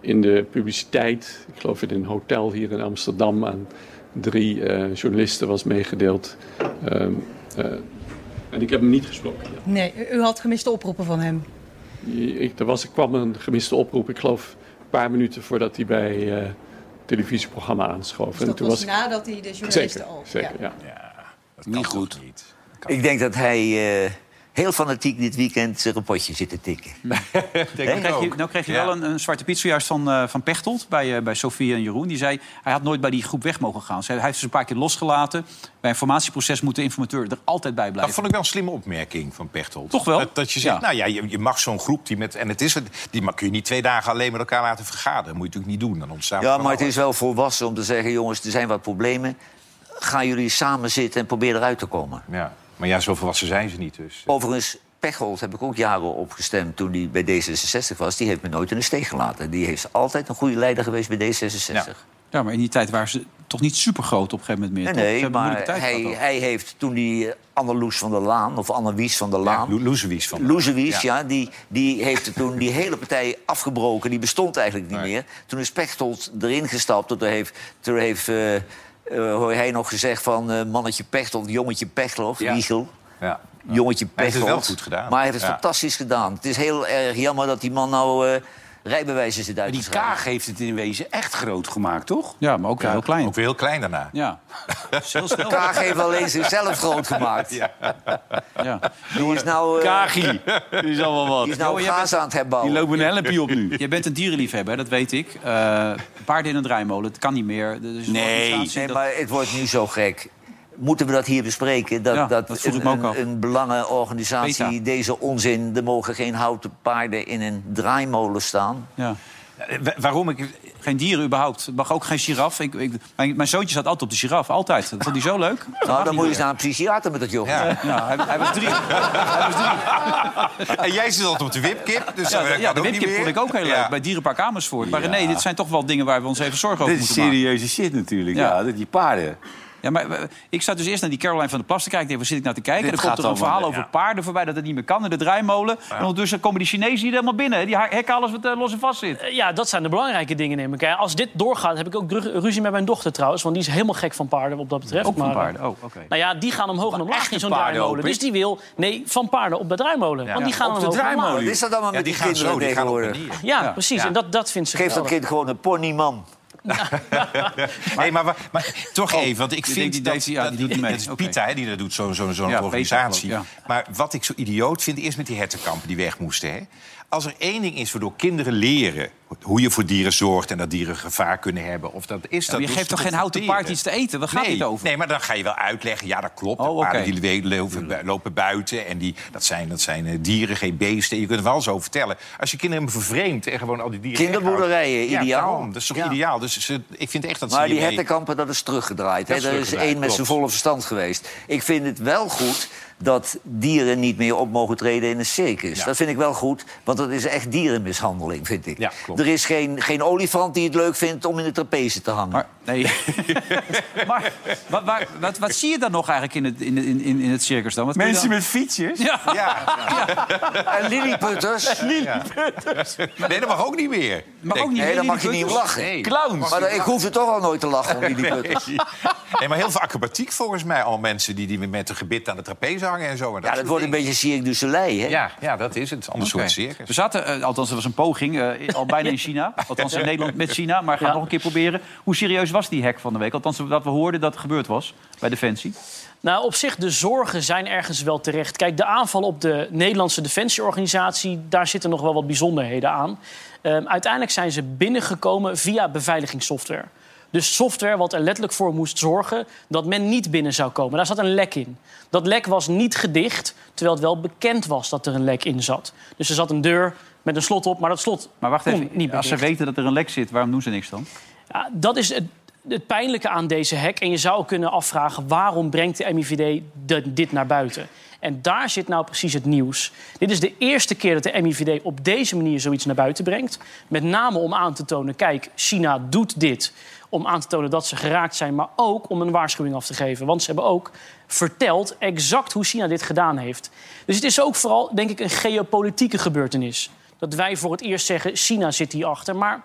S11: in de publiciteit, ik geloof in een hotel hier in Amsterdam, aan drie eh, journalisten was meegedeeld. Ehm, eh, en ik heb hem niet gesproken. ja.
S10: Nee, u- u had gemiste oproepen van hem.
S11: Ik, er, was, er kwam een gemiste oproep, ik geloof een paar minuten voordat hij bij eh, het televisieprogramma aanschoof.
S10: Dus dat
S11: toen
S10: was,
S11: ik-
S10: nadat hij de journalisten
S11: Zeker,
S10: al...
S11: zeker,
S10: ja.
S11: ja.
S3: Niet goed.
S2: Ik denk dat hij eh, heel fanatiek dit weekend zich een potje zitten tikken.
S1: Dan kreeg je, nou kreeg je wel een, een zwarte piet zojuist van, eh, van Pechtold bij, eh, bij Sofie en Jeroen. Die zei, hij had nooit bij die groep weg mogen gaan. Ze- Hij heeft ze een paar keer losgelaten. Bij een formatieproces moet de informateur er altijd bij blijven.
S3: Dat vond ik wel een slimme opmerking van Pechtold.
S1: Toch wel?
S3: Dat, dat je zegt,
S1: Ja.
S3: nou ja, je, je mag zo'n groep die met... En het is, het- die mag, kun je niet twee dagen alleen met elkaar laten vergaderen. Moet je natuurlijk niet doen. Dan ontstaat
S2: Ja,
S3: van
S2: maar het
S3: alles.
S2: is wel volwassen om te zeggen... jongens, er zijn wat problemen. Gaan jullie samen zitten en probeer eruit te komen.
S3: Ja. Maar ja, zo volwassen zijn ze niet dus.
S2: Overigens, Pechtold heb ik ook jaren opgestemd toen hij bij D66 was. Die heeft me nooit in de steek gelaten. Die is altijd een goede leider geweest bij D66.
S1: Ja, maar in die tijd waren ze toch niet supergroot op een gegeven moment meer. toch?
S2: Nee,
S1: Ze
S2: nee,
S1: hebben een
S2: maar
S1: moeilijke tijd
S2: hij,
S1: gehad ook.
S2: hij heeft toen die eh, Anneloes van der Laan... of Annewies van der Laan...
S3: Loezewies van
S2: Loezewies,
S3: Ja.
S2: ja. die, die heeft er toen die hele partij afgebroken. Die bestond eigenlijk niet meer. Toen is Pechtold erin gestapt. Toen heeft, toen heeft eh, eh, hoor hij nog gezegd van eh, mannetje Pechtold, jongetje Pechtold,
S3: Ja.
S2: Wiegel.
S3: Ja.
S2: Jongetje Pechtold.
S3: Hij heeft het wel goed gedaan.
S2: Maar hij heeft het
S3: Ja.
S2: fantastisch gedaan. Het is heel erg jammer dat die man nou eh rijbewijzen zit uit
S7: Die Kaag heeft het in wezen echt groot gemaakt, toch?
S1: Ja, maar ook
S7: weer heel
S1: klein.
S3: Ook weer heel klein daarna.
S1: Ja. Heel snel.
S2: Kaag heeft alleen zichzelf groot gemaakt.
S3: Ja.
S2: Die is nou... eh,
S1: Kaagie. Die is allemaal wat.
S2: Die is nou
S1: Jongen, jij
S2: gaas
S1: bent-
S2: aan het herbouwen.
S1: loopt een helpje op nu. Je bent een dierenliefhebber, dat weet ik. Eh, paarden in een draaimolen, dat kan niet meer. Er is een organisatie
S2: nee
S1: dat-
S2: maar het wordt nu zo gek. Moeten we dat hier bespreken? Dat,
S1: Ja,
S2: dat,
S1: dat vroeg ik
S2: een,
S1: me ook af.
S2: een, een belangenorganisatie
S1: Beta.
S2: deze onzin... er mogen geen houten paarden in een draaimolen staan.
S1: Ja.
S3: waarom ik...
S1: Geen dieren überhaupt. Het mag ook geen giraf. Ik, ik, mijn, mijn zoontje zat altijd op de giraf, altijd. Dat vond hij zo leuk.
S2: Nou, dan moet je eens naar een psychiater met dat jochie.
S3: Ja.
S1: Ja, hij, hij was drie. Hij was drie.
S3: En jij zit altijd op de wipkip. Dus
S1: ja,
S3: dat
S1: de,
S3: kan
S1: ja, de
S3: ook niet
S1: wipkip
S3: meer.
S1: vond ik ook heel leuk.
S3: Ja.
S1: Bij Dierenpark Amersfoort. Maar
S3: Ja.
S1: René, dit zijn toch wel dingen waar we ons even zorgen over
S7: Dit is
S1: moeten maken.
S7: serieuze shit natuurlijk.
S1: Ja.
S7: Ja, dat- die paarden.
S1: Ja, maar eh, ik zat dus eerst naar die Caroline van der Plas te kijken. Ik denk, waar zit ik naar te kijken?
S7: Dit
S1: En dan komt
S7: gaat
S1: er een
S7: allemaal,
S1: verhaal over
S7: ja.
S1: paarden voorbij dat het niet meer kan in de draaimolen. En ondertussen komen die Chinezen hier helemaal binnen. hè. Die ha- hekken alles wat eh, los en vast zit.
S4: Eh, Ja, dat zijn de belangrijke dingen, neem ik. aan. Als dit doorgaat, heb ik ook ru- ruzie met mijn dochter trouwens. Want die is helemaal gek van paarden wat dat betreft.
S1: Ook van
S4: Maar, eh,
S1: paarden. Oh, oké.
S4: Nou ja, die gaan omhoog en omlaag in
S1: paarden,
S4: zo'n draaimolen.
S1: hoop ik.
S4: Dus die wil, nee, van paarden op de draaimolen. Want die gaan
S2: Op de
S4: omhoog en omlaag.
S2: draaimolen. Wat is dat allemaal
S3: Ja,
S2: met
S3: die
S2: die,
S3: gaan
S2: kinderen
S3: zo, die gaan op en
S2: tegenwoordig?
S3: neer.
S4: Ja, precies. En dat, dat vindt ze
S2: Geef dat
S4: geweldig.
S2: kind gewoon een ponyman.
S3: Nee, maar, wa- maar toch even, want ik
S1: die
S3: vind...
S1: Oh, denkt- die denkt-
S3: dat,
S1: ja, die
S3: dat-
S1: doet niet mee.
S3: Dat is
S1: Oké.
S3: Pieter, hè, die dat doet, zo'n zo, zo'n
S1: Ja,
S3: organisatie.
S1: Peter, klopt,
S3: Maar wat ik zo idioot vind, eerst met die hertenkampen die weg moesten. Hè. Als er één ding is waardoor kinderen leren... hoe je voor dieren zorgt en dat dieren gevaar kunnen hebben... of dat is
S1: maar
S3: dat
S1: je
S3: dus
S1: geeft
S3: te
S1: toch geen houten
S3: confronteren.
S1: paard iets te eten? Waar gaat
S3: nee,
S1: dit over?
S3: Nee, maar dan ga je wel uitleggen. Ja, dat klopt.
S1: Oh,
S3: de paarden
S1: oké.
S3: die le- lopen,
S2: Hmm.
S3: bu- lopen buiten. En die, dat, zijn, dat zijn eh, dieren, geen beesten. Je kunt het wel zo vertellen. Als je kinderen hem vervreemdt en gewoon al die dieren...
S2: Kinderboerderijen,
S3: weghoudt- ja,
S2: ideaal.
S3: daarom. dat is toch
S2: Ja.
S3: ideaal? Dus ze- ik vind echt dat ze
S2: Maar die
S3: hiermee-
S2: hertenkampen, dat is teruggedraaid.
S3: Dat
S2: hè.
S3: is
S2: Dat is
S3: teruggedraaid,
S2: één met zijn
S3: klopt.
S2: volle verstand geweest. Ik vind het wel goed dat dieren niet meer op mogen treden in een circus.
S3: Ja.
S2: Dat vind ik wel goed, want dat is echt dierenmishandeling, vind ik.
S3: Ja, klopt.
S2: er is geen, geen olifant die het leuk vindt om in de trapeze te hangen.
S1: Maar, nee. maar wat, waar- wat, wat zie je dan nog eigenlijk in het, in, in, in- in het circus dan? Wat kun je
S7: Mensen
S1: dan-
S7: met fietsjes.
S1: Ja.
S2: En lilliputters?
S3: Nee, dat mag ook niet meer.
S1: Mag ook niet
S2: Nee,
S1: meer
S2: dan mag je niet om
S1: lilliputters.
S2: lachen.
S7: Clowns.
S2: Maar ik hoef er toch al nooit te lachen om lilliputters.
S3: Nee. Nee, maar heel veel acrobatiek volgens mij. Al mensen die, die met een gebit aan de trapeze hangen en zo. En
S2: Ja, dat
S3: soort
S2: wordt een
S3: dingen.
S2: beetje Dus- Cirque du Soleil, hè?
S3: Ja, ja, dat is het. Anders
S1: Oké.
S3: soort circus.
S1: We zaten, eh, althans, er was een poging, eh, al bijna in China. Althans, in Nederland met China, maar gaan we nog een keer proberen. Hoe serieus was die hack van de week? Althans, wat we hoorden dat er gebeurd was bij Defensie.
S4: Nou, op zich, de zorgen zijn ergens wel terecht. Kijk, de aanval op de Nederlandse defensieorganisatie... daar zitten nog wel wat bijzonderheden aan. Ehm, uiteindelijk zijn ze binnengekomen via beveiligingssoftware. Dus software wat er letterlijk voor moest zorgen... dat men niet binnen zou komen. Daar zat een lek in. Dat lek was niet gedicht, terwijl het wel bekend was dat er een lek in zat. Dus er zat een deur met een slot op, maar dat slot
S1: Maar wacht
S4: kon
S1: even,
S4: niet meer
S1: als ze
S4: dicht.
S1: weten dat er een lek zit, waarom doen ze niks dan?
S4: Ja, dat is het, het pijnlijke aan deze hack. En je zou kunnen afvragen waarom brengt de MIVD de- dit naar buiten? En daar zit nou precies het nieuws. Dit is de eerste keer dat de MIVD op deze manier zoiets naar buiten brengt. Met name om aan te tonen, kijk, China doet dit. Om aan te tonen dat ze geraakt zijn, maar ook om een waarschuwing af te geven. Want ze hebben ook verteld exact hoe China dit gedaan heeft. Dus het is ook vooral, denk ik, een geopolitieke gebeurtenis. Dat wij voor het eerst zeggen, China zit hierachter. Maar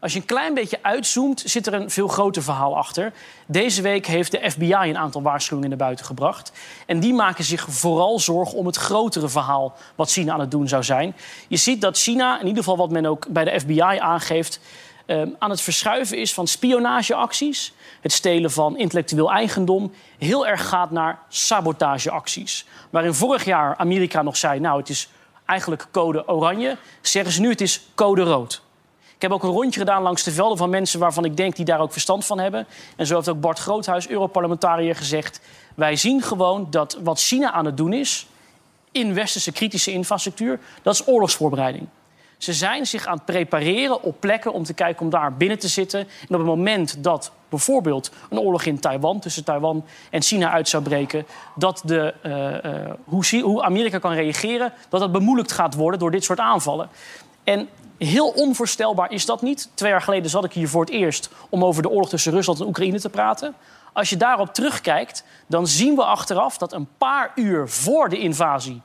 S4: als je een klein beetje uitzoomt, zit er een veel groter verhaal achter. Deze week heeft de FBI een aantal waarschuwingen naar buiten gebracht. En die maken zich vooral zorgen om het grotere verhaal wat China aan het doen zou zijn. Je ziet dat China, in ieder geval wat men ook bij de FBI aangeeft, eh, ehm, aan het verschuiven is van spionageacties, het stelen van intellectueel eigendom, heel erg gaat naar sabotageacties. Waarin vorig jaar Amerika nog zei, nou het is eigenlijk code oranje, zeggen ze nu het is code rood. Ik heb ook een rondje gedaan langs de velden van mensen waarvan ik denk die daar ook verstand van hebben. En zo heeft ook Bart Groothuis, Europarlementariër, gezegd: Wij zien gewoon dat wat China aan het doen is in westerse kritische infrastructuur, dat is oorlogsvoorbereiding. Ze zijn zich aan het prepareren op plekken om te kijken om daar binnen te zitten. En op het moment dat bijvoorbeeld een oorlog in Taiwan tussen Taiwan en China uit zou breken, dat de, eh, eh, hoe, Chi- hoe Amerika kan reageren, dat dat bemoeilijkt gaat worden door dit soort aanvallen. En heel onvoorstelbaar is dat niet. Twee jaar geleden zat ik hier voor het eerst om over de oorlog tussen Rusland en Oekraïne te praten. Als je daarop terugkijkt, dan zien we achteraf dat een paar uur voor de invasie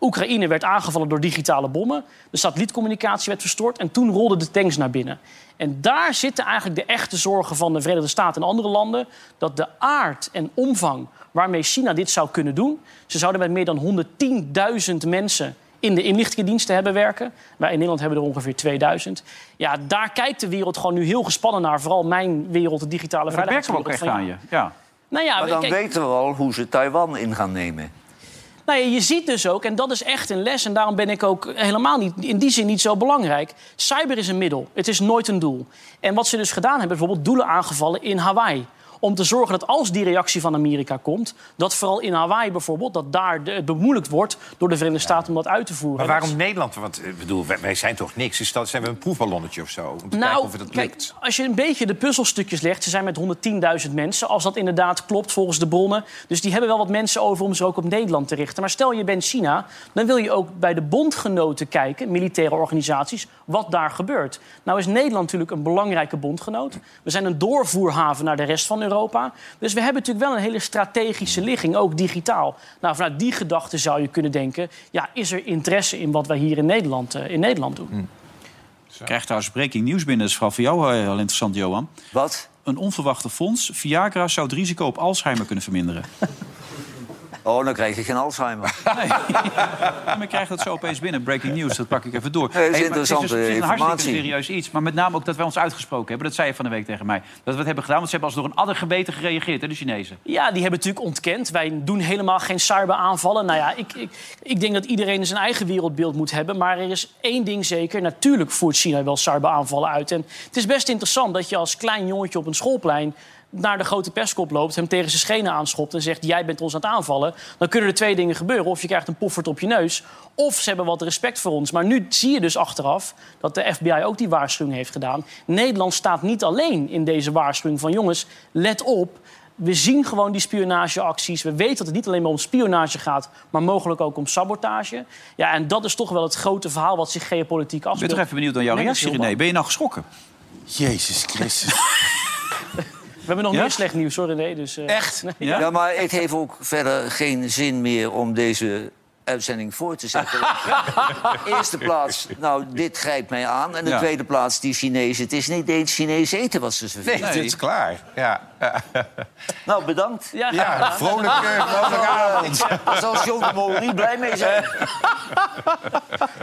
S4: Oekraïne werd aangevallen door digitale bommen. De satellietcommunicatie werd verstoord en toen rolden de tanks naar binnen. En daar zitten eigenlijk de echte zorgen van de Verenigde Staten en andere landen... dat de aard en omvang waarmee China dit zou kunnen doen... ze zouden met meer dan 110.000 mensen in de inlichtingendiensten hebben werken. Wij in Nederland hebben er ongeveer 2000. Ja, daar kijkt de wereld gewoon nu heel gespannen naar. Vooral mijn wereld, de digitale
S1: Dat werkt
S4: veiligheid.
S1: wel ook echt aan je. Ja.
S4: Nou ja,
S2: maar dan
S4: kijk,
S2: weten we al hoe ze Taiwan in gaan nemen.
S4: Nou ja, je ziet dus ook, en dat is echt een les... en daarom ben ik ook helemaal niet, in die zin niet zo belangrijk... cyber is een middel, het is nooit een doel. En wat ze dus gedaan hebben, bijvoorbeeld doelen aangevallen in Hawaii... om te zorgen dat als die reactie van Amerika komt... dat vooral in Hawaii bijvoorbeeld, dat daar de- het bemoeilijkt wordt... door de Verenigde Staten om dat uit te
S3: Maar
S4: voeren. Dat-
S3: waarom Nederland? Want eh, bedoel, wij, wij zijn toch niks? Is dat, zijn we een proefballonnetje of zo? Om te
S1: Nou,
S3: kijken of het dat
S4: Nou, kijk,
S3: lukt.
S4: als je een beetje de puzzelstukjes legt, ze zijn met 110.000 mensen, als dat inderdaad klopt volgens de bronnen. Dus die hebben wel wat mensen over om ze ook op Nederland te richten. Maar stel je bent China, dan wil je ook bij de bondgenoten kijken, militaire organisaties, wat daar gebeurt. Nou is Nederland natuurlijk een belangrijke bondgenoot. We zijn een doorvoerhaven naar de rest van Europa. Dus we hebben natuurlijk wel een hele strategische ligging, ook digitaal. Nou, vanuit die gedachte zou je kunnen denken, ja, is er interesse in wat wij hier in Nederland, eh, in Nederland doen?
S1: Ik krijg trouwens breaking nieuws binnen. Dat is vooral voor jou eh, heel interessant, Johan.
S2: Wat?
S1: Een onverwachte fonds. Viagra zou het risico op Alzheimer kunnen verminderen.
S2: Oh, dan krijg je geen Alzheimer.
S1: Maar ik krijg dat zo opeens binnen. Breaking news, dat pak ik even door.
S2: Nee, dat is
S1: maar
S2: interessante
S1: het is dus- het is een
S2: informatie.
S1: hartstikke serieus iets. Maar met name ook dat wij ons uitgesproken hebben. Dat zei je van de week tegen mij. Dat we het hebben gedaan, want ze hebben als door een adder geweten gereageerd, hè, de Chinezen.
S4: Ja, die hebben natuurlijk ontkend. Wij doen helemaal geen cyberaanvallen. Nou ja, ik, ik, ik denk dat iedereen zijn eigen wereldbeeld moet hebben. Maar er is één ding zeker. Natuurlijk voert China wel cyberaanvallen uit. En het is best interessant dat je als klein jongetje op een schoolplein... naar de grote perskop loopt, hem tegen zijn schenen aanschopt... en zegt, jij bent ons aan het aanvallen. Dan kunnen er twee dingen gebeuren. Of je krijgt een poffert op je neus... of ze hebben wat respect voor ons. Maar nu zie je dus achteraf dat de FBI ook die waarschuwing heeft gedaan. Nederland staat niet alleen in deze waarschuwing van... jongens, let op... We zien gewoon die spionageacties. We weten dat het niet alleen maar om spionage gaat, maar mogelijk ook om sabotage. Ja, en dat is toch wel het grote verhaal wat zich geopolitiek
S1: Ik ben
S4: afspeelt.
S1: toch even benieuwd naar jouw
S4: Nee, dat is
S1: reactie,
S4: heel
S1: René. Ben je nou geschrokken?
S8: Jezus Christus.
S4: We hebben nog
S1: Ja?
S4: meer slecht nieuws, hoor, René. Dus, Echt?
S2: Ja? maar het heeft ook verder geen zin meer om deze uitzending voor te zetten. Eerste plaats, nou, dit grijpt mij aan. En de
S3: Ja.
S2: tweede plaats, die Chinezen. Het is niet eens Chinees eten wat ze serveren.
S3: Nee, dit is klaar. Ja,
S2: Nou, bedankt. Nou,
S4: Ja,
S3: ja vrolijk, eh, vrolijk avond.
S2: Daar zal John de Mol niet blij mee zijn.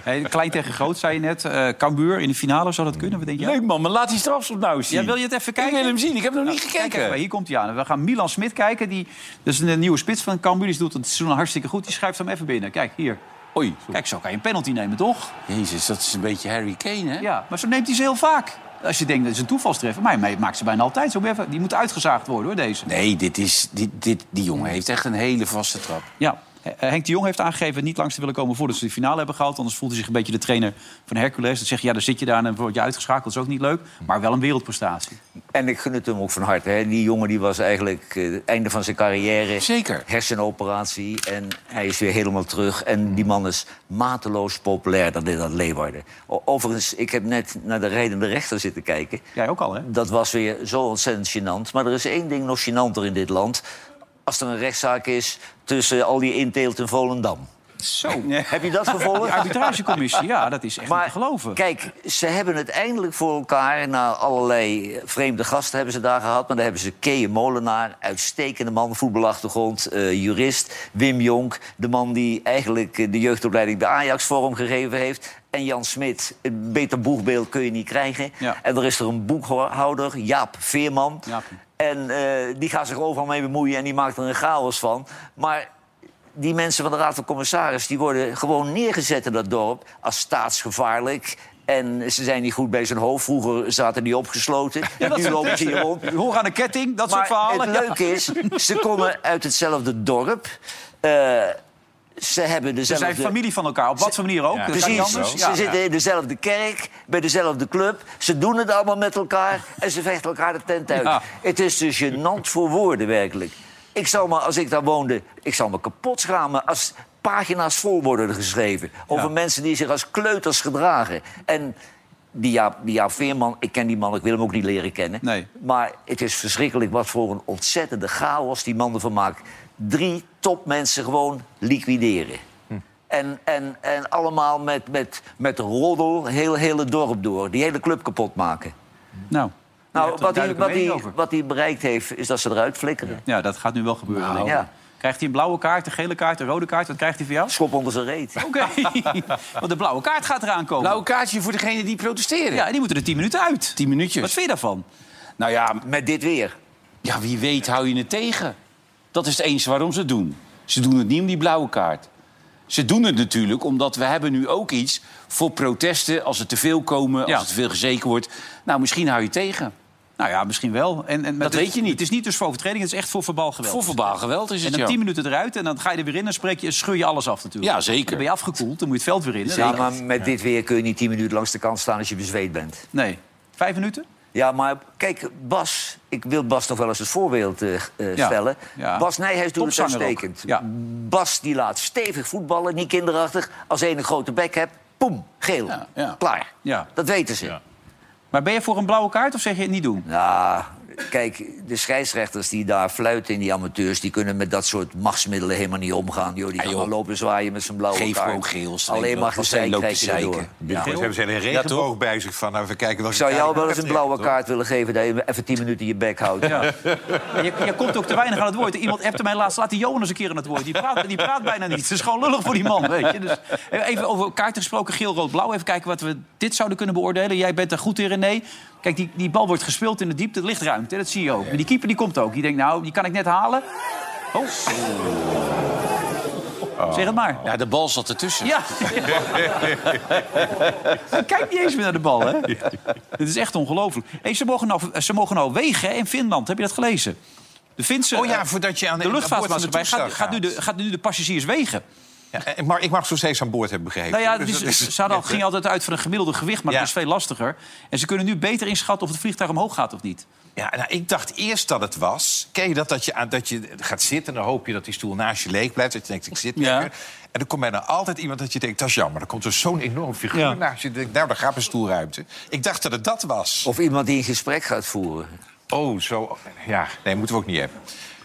S1: Hey, klein tegen groot, zei je net. Eh Cambuur in de finale, zou dat kunnen? Wat denk jij?
S8: Leuk man, maar laat die strafschop nou eens zien.
S1: Ja, wil je het even
S8: Ik
S1: kijken?
S8: wil hem zien, ik heb nog niet
S1: Nou, kijk even,
S8: gekeken.
S1: hier komt hij aan. We gaan Milan Smit kijken. Die, dat is een nieuwe spits van Cambuur. Die doet het seizoen hartstikke goed. Die schuift hem even binnen. Kijk, hier.
S8: Oei.
S1: Kijk, zo kan je een penalty nemen, toch?
S8: Jezus, dat is een beetje Harry Kane, hè?
S1: Ja, maar zo neemt hij ze heel vaak. Als je denkt, dat is een toevalstreffer. Maar hij maakt ze bijna altijd zo. Even- Die moet uitgezaagd worden, hoor, deze.
S8: Nee, dit is, dit, dit, die jongen heeft echt een hele vaste trap.
S1: Ja. Eh, Henk de Jong heeft aangegeven niet langs te willen komen voordat ze de finale hebben gehaald. Anders voelt hij zich een beetje de trainer van Hercules. Dan zeg je, ja, dan zit je daar en dan word je uitgeschakeld. Dat is ook niet leuk, maar wel een wereldprestatie.
S2: En ik gun het hem ook van harte. Hè. Die jongen die was eigenlijk eh, het einde van zijn carrière.
S8: Zeker.
S2: Hersenoperatie. En hij is weer helemaal terug. En die man is mateloos populair. Dat deed dat Leeuwarden. O- Overigens, ik heb net naar de rijdende rechter zitten kijken.
S1: Jij ook al, hè?
S2: Dat was weer zo ontzettend gênant. Maar er is één ding nog gênanter in dit land. Als er een rechtszaak is tussen al die inteelt in Volendam.
S1: Zo.
S2: Heb je dat gevolgd?
S1: Die arbitragecommissie, ja, dat is echt
S2: Maar
S1: niet te geloven.
S2: Kijk, ze hebben het eindelijk voor elkaar. Na allerlei vreemde gasten hebben ze daar gehad. Maar daar hebben ze Kees Molenaar, uitstekende man, voetbalachtergrond, eh, jurist. Wim Jonk, de man die eigenlijk eh, de jeugdopleiding de Ajax vormgegeven heeft. En Jan Smit, een beter boegbeeld kun je niet krijgen.
S1: Ja.
S2: En er is er een boekhouder, Jaap Veerman. En eh, die gaat zich overal mee bemoeien en die maakt er een chaos van. Maar die mensen van de Raad van Commissaris... die worden gewoon neergezet in dat dorp als staatsgevaarlijk... En ze zijn niet goed bij zijn hoofd. Vroeger zaten die opgesloten. nu lopen ze hier rond.
S1: Hoor aan de ketting, dat soort
S2: Maar
S1: verhalen.
S2: Het leuke is, ze komen uit hetzelfde dorp. Eh, ze hebben
S1: Ze
S2: dezelfde...
S1: zijn familie van elkaar, op wat voor manier ook. Dat kan niet
S2: Precies,
S1: anders.
S2: ze
S1: Ja.
S2: zitten in dezelfde kerk, bij dezelfde club. Ze doen het allemaal met elkaar en ze vechten elkaar de tent uit.
S1: Ja.
S2: Het is dus gênant voor woorden, werkelijk. Ik zou me, als ik daar woonde, ik zou me kapot schamen als pagina's vol worden geschreven. Over mensen die zich als kleuters gedragen. En die Jaap, die Jaap Veerman, ik ken die man, ik wil hem ook niet leren kennen. Maar het is verschrikkelijk wat voor een ontzettende chaos die man ervan maakt. Drie topmensen gewoon liquideren.
S1: Hm.
S2: En, en, en allemaal met, met, met roddel heel hele dorp door. Die hele club kapot maken.
S1: Nou,
S2: Nou,
S1: hebt er
S2: wat,
S1: een
S2: hij,
S1: duidelijke
S2: wat, hij,
S1: mening over.
S2: wat hij bereikt heeft, is dat ze eruit flikkeren.
S1: Ja, dat gaat nu wel gebeuren.
S8: Nou.
S1: denk ik.
S2: ja.
S1: Krijgt hij een blauwe kaart, een gele kaart, een rode kaart? Wat krijgt hij voor jou?
S2: Schop onder zijn reet.
S1: Oké, want de blauwe kaart gaat eraan komen.
S8: Blauwe Nou, kaartje voor degene die protesteren.
S1: Ja, die moeten er tien minuten uit.
S8: Tien minuutjes.
S1: Wat vind je daarvan?
S8: Nou ja,
S2: Met dit weer.
S8: ja, wie weet hou je het tegen. Dat is het eens waarom ze het doen. Ze doen het niet om die blauwe kaart. Ze doen het natuurlijk omdat we hebben nu ook iets voor protesten... als er te veel komen,
S1: Ja.
S8: als er te veel gezeken wordt. Nou, misschien hou je het tegen.
S1: Nou ja, misschien wel. En, en, maar
S8: Dat
S1: het-
S8: weet je niet.
S1: Het is niet dus voor overtreding, het is echt voor verbaal geweld.
S8: Voor verbaal geweld is
S1: en
S8: het,
S1: dan
S8: ja.
S1: tien minuten eruit en dan ga je er weer in en spreek je, scheur je alles af natuurlijk.
S8: Ja, zeker.
S1: Dan ben je afgekoeld, dan moet je het veld weer in.
S2: Ja, maar met dit weer kun je niet tien minuten langs de kant staan als je bezweet bent.
S1: Nee, vijf minuten?
S2: Ja, maar kijk, Bas, ik wil Bas nog wel eens het voorbeeld eh, eh,
S1: Ja,
S2: stellen.
S1: ja.
S2: Bas Nijhuis doet het
S1: Topzanger ook.
S2: uitstekend.
S1: Ja.
S2: Bas die laat stevig voetballen, niet kinderachtig. Als één een grote bek hebt, poem, geel.
S1: ja.
S2: Klaar.
S1: Ja.
S2: Dat weten ze.
S1: Maar ben je voor een blauwe kaart of zeg je het niet doen?
S2: Nou, kijk, de scheidsrechters die daar fluiten in die amateurs... die kunnen met dat soort machtsmiddelen helemaal niet omgaan. Joh, die gaan wel lopen zwaaien met zijn blauwe
S8: Geef
S2: kaart.
S8: gewoon geel, streng,
S2: Alleen maar
S8: want zij
S2: gezeik
S8: loopt te
S2: krijg je erdoor.
S8: zeiken.
S2: Ja.
S3: Ze hebben ze een regenboog bij zich van. Nou, even kijken wat
S2: Ik zou
S3: ik
S2: jou wel
S3: eigenlijk
S2: eens een
S3: heb
S2: blauwe
S3: gegeven,
S2: kaart willen geven... dat je even tien minuten je bek houdt.
S1: Ja. Maar Je, je komt ook te weinig aan het woord. Iemand appte mij laatst, laat die Jonas een keer aan het woord. Die praat, die praat bijna niet. Het is gewoon lullig voor die man, weet je. Dus even over kaarten gesproken, geel, rood, blauw. Even kijken wat we dit zouden kunnen beoordelen. Jij bent er goed in, René. Kijk, die, die bal wordt gespeeld in de diepte. Het ligt ruimte, dat zie je ook. Maar die keeper die komt ook. Die denkt, nou, die kan ik net halen. Oh. Zeg het maar.
S8: Ja, de bal zat ertussen.
S1: Ja. Hij kijkt niet eens meer naar de bal, hè? Het is echt ongelooflijk. Hey, ze, mogen nou, ze mogen nou wegen hè, in Finland. Heb je dat gelezen? De Finse...
S3: Oh ja,
S1: eh,
S3: voordat je aan
S1: de
S3: aan boord van het
S1: luchtvaartmaatschappij gaat,
S3: toestel
S1: gaat, nu de, gaat nu de passagiers wegen.
S3: Ja, ik mag- ik mag zo steeds aan boord hebben begrepen.
S1: Nou ja,
S3: Dus
S1: het is-
S3: dat is-
S1: ze hadden, al- gingen altijd uit van een gemiddelde gewicht, maar
S3: Ja.
S1: dat is veel lastiger. En ze kunnen nu beter inschatten of het vliegtuig omhoog gaat of niet.
S3: Ja, nou, ik dacht eerst dat het was. Ken je dat, dat je, aan- dat je gaat zitten en dan hoop je dat die stoel naast je leeg blijft. Dat je denkt, ik zit
S1: Ja.
S3: lekker. En dan komt bijna altijd iemand dat je denkt, dat is jammer. Dan komt er zo'n enorm figuur
S1: Ja.
S3: naast je. Dan denk ik, nou, daar gaat mijn stoelruimte. Ik dacht dat het dat was.
S2: Of iemand die een gesprek gaat voeren.
S3: Oh, zo. Ja, nee, moeten we ook niet hebben.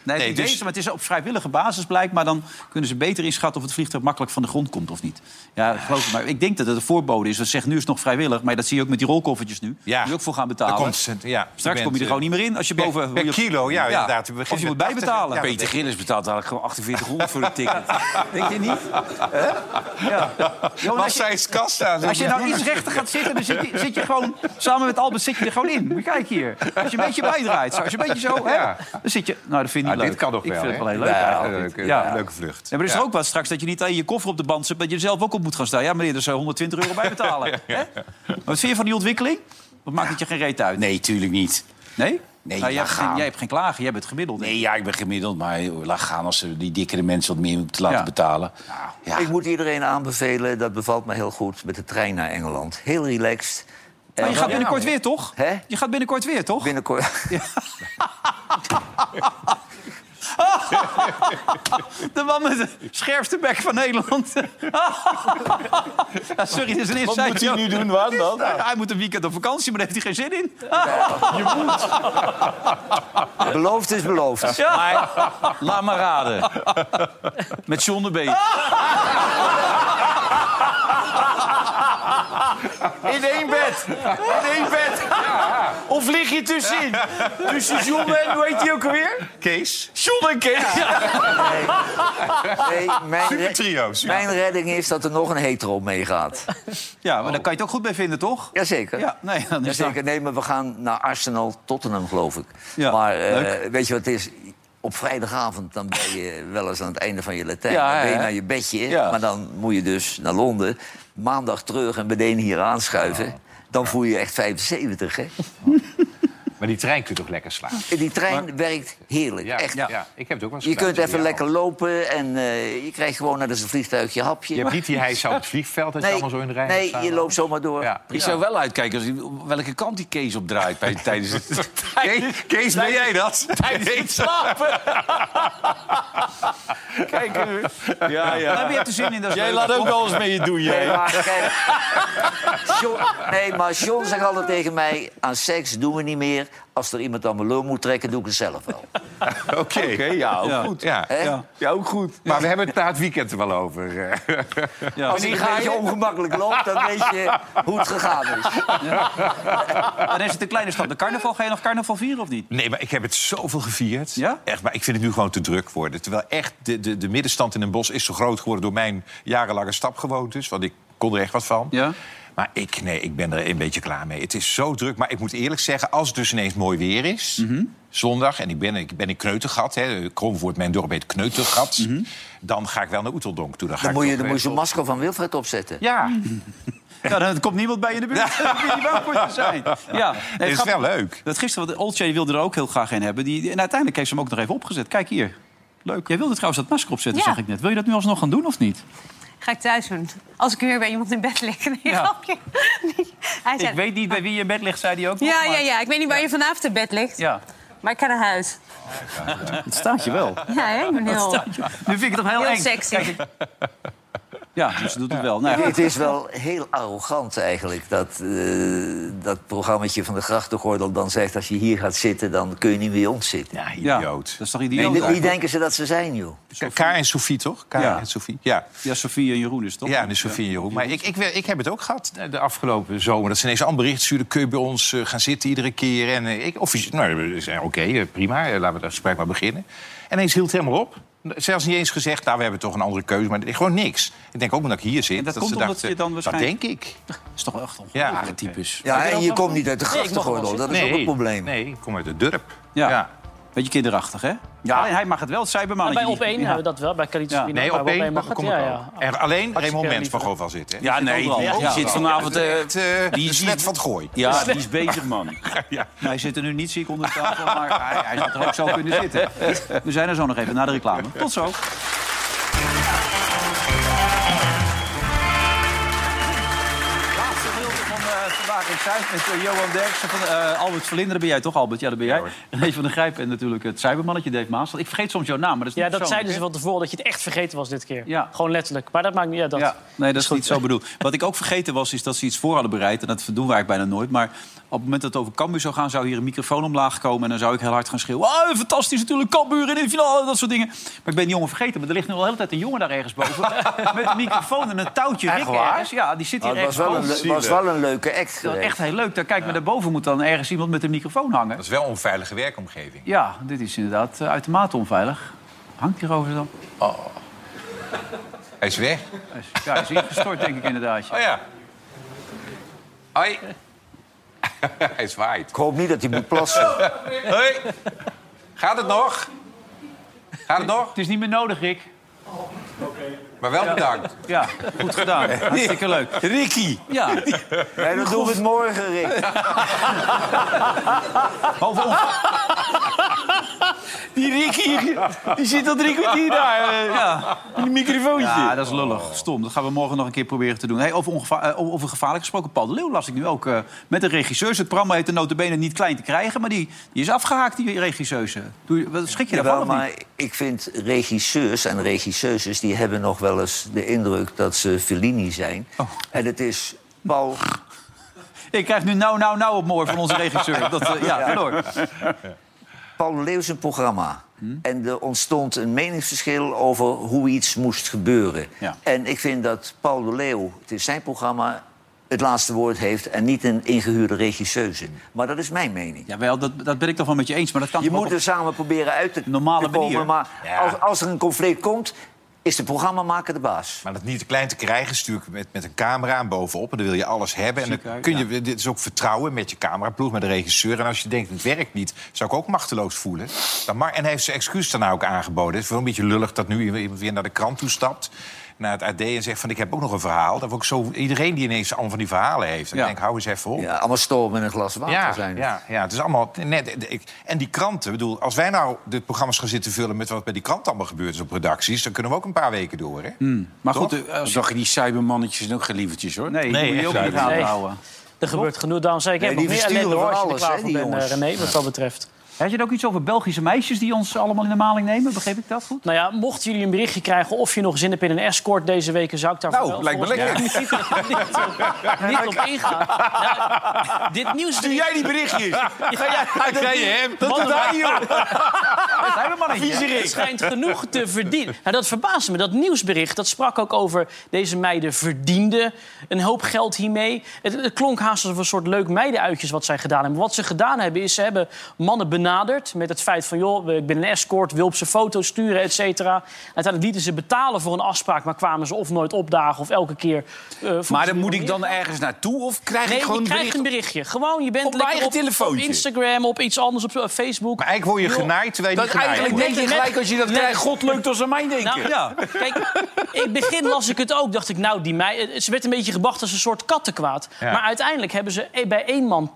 S1: Nee, het
S3: Nee,
S1: idee
S3: dus-
S1: is, maar het is op vrijwillige basis blijkbaar. Dan kunnen ze beter inschatten of het vliegtuig makkelijk van de grond komt of niet. Ja, geloof ik. Maar ik denk dat het een voorbode is. Dat zegt nu is het nog vrijwillig, maar dat zie je ook met die rolkoffertjes nu.
S3: Ja.
S1: Die je ook voor gaan
S3: Dan
S1: betalen.
S3: komt ze- ja,
S1: Straks kom je er
S3: bent, eh,
S1: gewoon niet meer in als je
S3: per-
S1: boven...
S3: per
S1: hoe je-
S3: kilo, ja, inderdaad. We
S1: Of je
S3: beginnen
S1: moet
S3: met 80,
S1: bijbetalen.
S3: ja,
S8: Peter Gillis betaalt eigenlijk gewoon 4800 voor het ticket. Denk je niet?
S1: Ja. Johan,
S3: Was
S1: als,
S3: zij
S1: je,
S3: is kassa.
S1: als je nou iets rechter gaat zitten, dan zit je, zit je gewoon... Samen met Albert zit je er gewoon in. Moet je kijken hier. Als je een beetje bijdraait, zo, als je een beetje zo... Hè,
S3: Ja.
S1: Dan zit je... Nou, dat vind ik niet
S3: Ah,
S1: leuk.
S3: dit kan nog
S1: Ik
S3: wel,
S1: vind het
S3: hè?
S1: wel heel leuk
S3: Ja,
S1: eigenlijk.
S3: leuke-
S1: Ja.
S3: leuke
S1: Ja,
S3: vlucht.
S1: maar er is
S3: Ja.
S1: ook wat straks dat je niet alleen je koffer op de band zet... maar dat je er zelf ook op moet gaan staan. Ja, meneer, daar zou je 120 euro bij betalen. Hè? Maar Wat vind je van die ontwikkeling? Wat maakt het je geen reet uit?
S8: Nee, tuurlijk niet.
S1: Nee?
S8: Nee,
S1: Nou, jij,
S8: laat
S1: hebt geen,
S8: gaan.
S1: jij hebt geen klagen, jij bent gemiddeld.
S8: Nee, ja, ik ben gemiddeld, maar joh, laat gaan als ze die dikkere mensen wat meer moeten laten
S1: Ja.
S8: betalen. Ja.
S2: Ik moet iedereen aanbevelen, dat bevalt me heel goed, met de trein naar Engeland. Heel relaxed.
S1: Maar je
S2: En-
S1: gaat binnenkort weer, toch?
S2: Hè?
S1: Je gaat binnenkort weer, toch?
S2: Binnenkort.
S1: De man met de scherpste bek van Nederland. Ja, sorry, dit is een
S8: Wat
S1: insight
S8: moet hij
S1: joke.
S8: nu doen, Waan, dan?
S1: Hij moet een weekend op vakantie, maar daar heeft hij geen zin in.
S2: beloofd is beloofd.
S8: Maar, laat maar raden. Met John de Beek. In één bed. In één bed. Of lig je tussenin? Tussen John en, hoe heet die ook alweer?
S3: Kees?
S8: John en Kees.
S2: Nee, mijn,
S3: Super trio, super.
S2: mijn redding is dat er nog een hetero meegaat.
S1: Ja, maar daar kan je het ook goed bij vinden, toch?
S2: Jazeker.
S1: Ja, nee, Dus dan is dat...
S2: Jazeker. Nee, maar we gaan naar Arsenal Tottenham, geloof ik.
S1: Ja,
S2: maar eh,
S1: leuk.
S2: weet je wat het is? Op vrijdagavond dan ben je wel eens aan het einde van je Latijn.
S8: Ja,
S2: dan ben je
S8: hè?
S2: naar je bedje,
S8: Ja.
S2: maar dan moet je dus naar Londen. Maandag terug en meteen hier aanschuiven. Dan voel je je echt 75, hè?
S3: Maar die trein kun je toch lekker slaan?
S2: Die trein werkt heerlijk,
S3: Ja,
S2: echt.
S3: ja. ik heb het ook wel eens
S2: Je kunt
S3: gedaan,
S2: even
S3: ja.
S2: lekker lopen en eh, je krijgt gewoon naar een vliegtuigje hapje.
S3: Je hebt niet die hijs op het vliegveld dat je allemaal zo in de rij
S2: nee,
S3: staat.
S2: je loopt zomaar door.
S3: Ja.
S8: Ik zou wel uitkijken als hij- welke kant die Kees op draait bij, tijdens het... Kees,
S3: ben jij dat?
S8: Tijdens het slapen. Kijk, eh, ja,
S1: Dan
S8: ja.
S1: heb je hebt er zin in. Dat is
S8: Jij
S1: leuk.
S8: laat ook wel eens mee doen,
S2: Nee,
S8: jij.
S2: maar, kijk, John, nee, maar John zegt altijd tegen mij... aan seks doen we niet meer. Als er iemand aan mijn lul moet trekken, doe ik het zelf wel.
S3: Oké,
S8: ja, ook
S1: Ja.
S8: goed.
S3: Ja.
S2: Hè?
S1: Ja.
S8: Ja, Oh, ook goed.
S3: Maar we hebben het na het weekend er wel over. eh.
S1: Ja.
S2: Als ik een beetje ongemakkelijk loop, dan weet je hoe het gegaan is.
S1: Dan is het een kleine stap. De carnaval, ga je nog carnaval vieren of niet?
S3: Nee, maar ik heb het zoveel gevierd.
S1: Ja?
S3: Echt, maar ik vind het nu gewoon te druk worden. Terwijl echt de, de, de middenstand in een bos is zo groot geworden... door mijn jarenlange stapgewoontes. Want ik kon er echt wat van.
S1: Ja.
S3: Maar ik, nee, ik ben er een beetje klaar mee. Het is zo druk. Maar ik moet eerlijk zeggen, als het dus ineens mooi weer is... zondag, en ik ben, ik ben in Kneutergat. Hè, Kromvoort, mijn dorp heet Kneutergat. Dan ga ik wel naar Oeteldonk toe. Dan, ga
S2: Dan
S3: ik
S2: moet je,
S3: toch
S2: dan
S3: weer-
S2: moet je een masker van Wilfred opzetten.
S3: Ja,
S1: Ja, dan komt niemand bij je in de buurt. Dan kun je niet bang voor te zijn. Ja, nee, het
S3: het is
S1: gaat-
S3: wel leuk.
S1: Dat gisteren, want Olcay die wilde er ook heel graag een hebben. Die, en uiteindelijk heeft ze hem ook nog even opgezet. Kijk hier. Leuk. Jij wilde trouwens dat masker opzetten,
S9: Ja.
S1: zag ik net. Wil je dat nu alsnog gaan doen of niet?
S9: Ga ik thuis doen. Als ik weer bij iemand in bed lig. Nee,
S1: Ja.
S9: grapje. Hij zei...
S1: Ik weet niet bij wie je in bed ligt, zei hij ook nog,
S9: Ja,
S1: maar-
S9: ja, ja. Ik weet niet waar je vanavond in bed ligt.
S1: ja.
S9: Maar ik ga naar huis.
S1: Het staat je wel.
S9: Ja, hè? Ik ben heel,
S1: Nu vind ik het toch heel,
S9: heel
S1: eng.
S9: sexy.
S1: Ja, dus ze doet het wel. Nou, ja,
S2: Het is wel heel arrogant eigenlijk dat eh dat programmaatje van de grachtengordel dan zegt... als je hier gaat zitten, dan kun je niet meer ontzitten.
S3: Ja,
S1: ja.
S3: idioot.
S1: Dat is toch
S2: Wie,
S1: idioot?
S2: wie denken ze dat ze zijn, joh?
S3: Ka- Kaar en Sofie, toch? Kaar
S1: Ja.
S3: en Sofie, ja.
S1: Ja, Sofie en Jeroen is het, toch?
S3: Ja, de Sofie en Jeroen. Maar ik, ik, ik heb het ook gehad eh, de afgelopen zomer. Dat ze ineens allemaal bericht stuurden. Kun je bij ons eh, gaan zitten iedere keer? En eh, ik officie- nou, we zeiden, oké, eh, prima. eh, Laten we dat gesprek maar beginnen. En ineens hield het helemaal op. Zelfs niet eens gezegd, nou, we hebben toch een andere keuze. Maar gewoon niks. Ik denk ook omdat ik hier zit.
S1: En dat komt
S3: ze
S1: omdat
S3: dachten,
S1: je dan waarschijnlijk-
S3: Dat denk ik.
S1: Dat is toch echt
S3: Ja.
S1: ongelooflijk ja. typus.
S2: Ja, en je komt niet uit de grachtengordel. Dat is ook een probleem.
S3: Nee, ik kom uit het dorp.
S1: Ja.
S3: Ja.
S1: Beetje kinderachtig, hè? Ja. hij mag het wel, het
S4: Maar
S1: cybermannetje.
S4: bij op één hebben we dat wel, bij Caritas
S1: Ja.
S3: Nee, op één mag, kom ik ook. En alleen Raymond
S4: eh,
S3: Mens van
S4: liever.
S3: Goval zit. Hè?
S8: Ja, nee, die,
S1: Ja.
S8: die zit vanavond... eh,
S3: Het, eh,
S8: die
S3: de
S8: is-
S3: smet van het gooi.
S8: ja, die is bezig, man.
S1: Nou, hij zit er nu niet ziek onder de tafel, maar hij, hij zou er ook zo kunnen zitten. We zijn er zo nog even na de reclame. Tot zo. Laatste gedeelte van eh, Vandaag in Zuid met eh, Johan Derksen van eh, Albert Verlinderen. Ben jij toch, Albert? Ja, dat ben jij. René van de Grijp en natuurlijk het cybermannetje Dave Maas. Ik vergeet soms jouw naam, maar dat is niet
S4: Ja, dat
S1: persoonlijk,
S4: zeiden ze
S1: hè?
S4: van tevoren, dat je het echt vergeten was dit keer.
S1: Ja.
S4: Gewoon letterlijk. Maar dat maakt niet uit. Dat.
S1: Ja, nee, dat is niet zo bedoeld. Wat ik ook vergeten was, is dat ze iets voor hadden bereid. En dat doen wij eigenlijk bijna nooit. Maar op het moment dat het over Cambuur zou gaan... zou hier een microfoon omlaag komen. En dan zou ik heel hard gaan schreeuwen. Ah, fantastisch natuurlijk, Cambuur in de finale, dat soort dingen. Maar ik ben die jongen vergeten. Maar er ligt nu al de hele tijd een jongen daar ergens boven. met een microfoon en een touwtje. Rick ergens. Ja, die zit hier
S2: Maar het Oh, was
S1: ergens boven.
S2: wel, een, le- was wel een leuke act
S1: Dat is
S2: geweest.
S1: echt heel leuk. Daar, kijk, maar daarboven moet dan ergens iemand met een microfoon hangen.
S3: Dat is wel een onveilige werkomgeving.
S1: Ja, dit is inderdaad eh, uitermate onveilig. Hangt hierover dan?
S3: Hij is weg.
S1: Hij is- Ja, hij is ingestort, denk ik inderdaad.
S3: Oh ja. Hoi. Hij zwaait.
S2: Ik hoop niet dat hij moet plassen.
S3: Hoi. Gaat het nog? Gaat het nog?
S1: Het is niet meer nodig, Rick.
S3: Maar wel bedankt.
S1: Ja, goed gedaan. Hartstikke leuk.
S8: Ricky.
S1: Ja,
S2: Nee, dan doen we het morgen, Rick.
S8: Die Ricky, die zit al drie kwartier daar. eh,
S1: ja.
S8: in een microfoontje.
S1: ja, dat is lullig. Stom. Dat gaan we morgen nog een keer proberen te doen. Hey, over, ongeva- eh, over gevaarlijk gesproken. Paul de Leeuw las ik nu ook eh, met de regisseuse. Het programma heette notabene niet klein te krijgen. Maar die, die is afgehaakt, die regisseuse. Doe, je- wat, schrik je daarvan
S2: Jawel,
S1: of niet?
S2: maar ik vind regisseurs en regisseuses... die hebben nog wel eens de indruk dat ze Fellini zijn. En het is Paul...
S1: Ik krijg nu nou, nou, nou op mooi van onze regisseur. Dat, eh, ja, ga door.
S2: Paul Leeuw zijn programma. En er ontstond een meningsverschil over hoe iets moest gebeuren.
S1: Ja.
S2: En ik vind dat Paul de Leeuw, het is zijn programma... het laatste woord heeft en niet een ingehuurde regisseuse. Maar dat is mijn mening.
S1: Jawel, dat, dat ben ik toch wel met je eens. Maar dat kan
S2: Je
S1: toch
S2: moet
S1: ook
S2: er samen proberen uit te,
S1: normale
S2: te komen.
S1: manier.
S2: Maar
S3: Ja.
S2: als, als er een conflict komt, is de programmamaker de baas.
S3: Maar dat niet te klein te krijgen, stuur ik met, met een camera aan bovenop. En dan wil je alles hebben. En dan
S1: Ziekenhuis,
S3: kun je, dit is ook vertrouwen met je cameraploeg, met de regisseur. En als je denkt, het werkt niet, zou ik ook machteloos voelen. Dan maar, en hij heeft zijn excuus daarna ook aangeboden. Het is wel een beetje lullig dat nu iemand weer naar de krant toe stapt. Naar het AD en zegt van, ik heb ook nog een verhaal. Dat ook zo, iedereen die ineens allemaal van die verhalen heeft. Dan denk ik, hou eens even op.
S2: Ja, allemaal storm en een glas water
S3: Ja,
S2: zijn.
S3: ja, ja, het is allemaal net. ik- En die kranten, ik bedoel, als wij nou de programma's gaan zitten vullen met wat bij die krant allemaal gebeurd is op redacties, dan kunnen we ook een paar weken door. Hè?
S2: Hmm.
S1: Maar
S3: Toch?
S1: goed, eh, als-
S8: Zag je die cybermannetjes en ook geen lievertjes, hoor.
S1: nee,
S3: Nee,
S1: die moet je
S3: echt
S1: ook in het
S3: zuiver.
S1: gaten
S4: Nee.
S1: houden.
S4: Er gebeurt genoeg. Daarom zei ik, ik heb
S2: Nee,
S4: nog
S2: die
S4: meer ellende
S2: versturen
S4: hoor, als
S2: van
S4: je er
S2: alles,
S4: klaar voor
S2: hè, die
S4: bent, eh,
S2: jongens.
S4: René, wat dat betreft.
S1: Had je het ook iets over Belgische meisjes die ons allemaal in de maling nemen? Begreep ik dat goed?
S4: Nou ja, mochten jullie een berichtje krijgen of je nog zin hebt in een escort deze week, zou ik daar
S3: Nou,
S4: wel
S3: lijkt me
S4: volgens-
S3: lekker.
S4: Niet, niet, niet op ingaan. Nou, dit nieuws...
S8: Doe jij die berichtjes? Hij krijgt hem. Dat
S4: Mannen-
S8: doet hij, joh.
S1: Dat zijn we maar niet.
S4: Het schijnt genoeg te verdienen. Nou, dat verbaasde me. Dat nieuwsbericht dat sprak ook over deze meiden verdienden een hoop geld hiermee. Het, het klonk haast alsof een soort leuk meidenuitjes wat zij gedaan hebben. Wat ze gedaan hebben is ze hebben mannen benaderd met het feit van... joh, ik ben een escort, wil op ze foto's sturen, et cetera. Uiteindelijk lieten ze betalen voor een afspraak... maar kwamen ze of nooit opdagen of elke keer... eh, vroegen
S8: Maar
S4: ze
S8: dan moet ik
S4: meer.
S8: dan ergens naartoe of krijg
S4: Nee,
S8: ik gewoon
S4: je
S8: een
S4: krijgt
S8: bericht?
S4: een berichtje. Gewoon, je bent
S8: Op mijn
S4: lekker
S8: eigen
S4: op- op
S8: telefoontje.
S4: Instagram, op iets anders, op eh, Facebook.
S3: Maar eigenlijk word je genaaid terwijl je
S8: Dat
S3: niet
S8: eigenlijk
S3: wordt.
S8: denk je gelijk als je dat krijgt, god leuk als aan mij denken.
S4: Nou, ja. Kijk, in het begin las ik het ook. Dacht ik, nou, die mei, ze werd een beetje gebracht als een soort kattenkwaad.
S3: Ja.
S4: Maar uiteindelijk hebben ze e- bij één man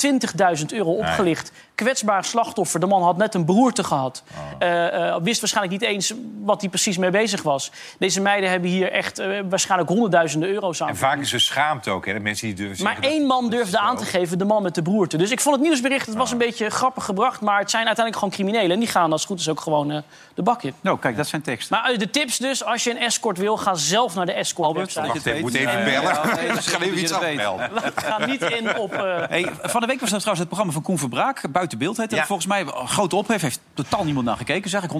S4: 20.000 euro opgelicht. Kwetsbaar slachtoffer. De man had net een beroerte gehad.
S3: Oh.
S4: Eh, eh, wist waarschijnlijk niet eens wat hij precies mee bezig was. Deze meiden hebben hier echt eh, waarschijnlijk honderdduizenden euro's aan.
S3: En vaak is ze schaamd ook, hè? De mensen die durven
S4: Maar
S3: zeggen dat-
S4: één man
S3: dat is
S4: durfde aan
S3: zo.
S4: te geven, de man met de broerte. Dus ik vond het nieuwsbericht, het was een beetje grappig gebracht... maar het zijn uiteindelijk gewoon criminelen. En die gaan als het goed is ook gewoon eh, de bak in.
S1: Nou, kijk, dat zijn teksten.
S4: Maar eh, de tips dus, als je een escort wil, ga zelf naar de escort website.
S3: Wacht even, moet even bellen.
S1: dat
S3: Ik
S1: is
S3: ga
S1: goed
S3: even
S1: dat
S3: iets
S1: je dat weet.
S3: afmelden.
S4: Ga niet in op... eh,
S1: Hey, van de week was dat trouwens het programma van Koen Verbraak. Buiten beeld heette dat
S3: Ja.
S1: volgens mij. een Grote ophef, heeft totaal niemand naar gekeken. Zeg ik,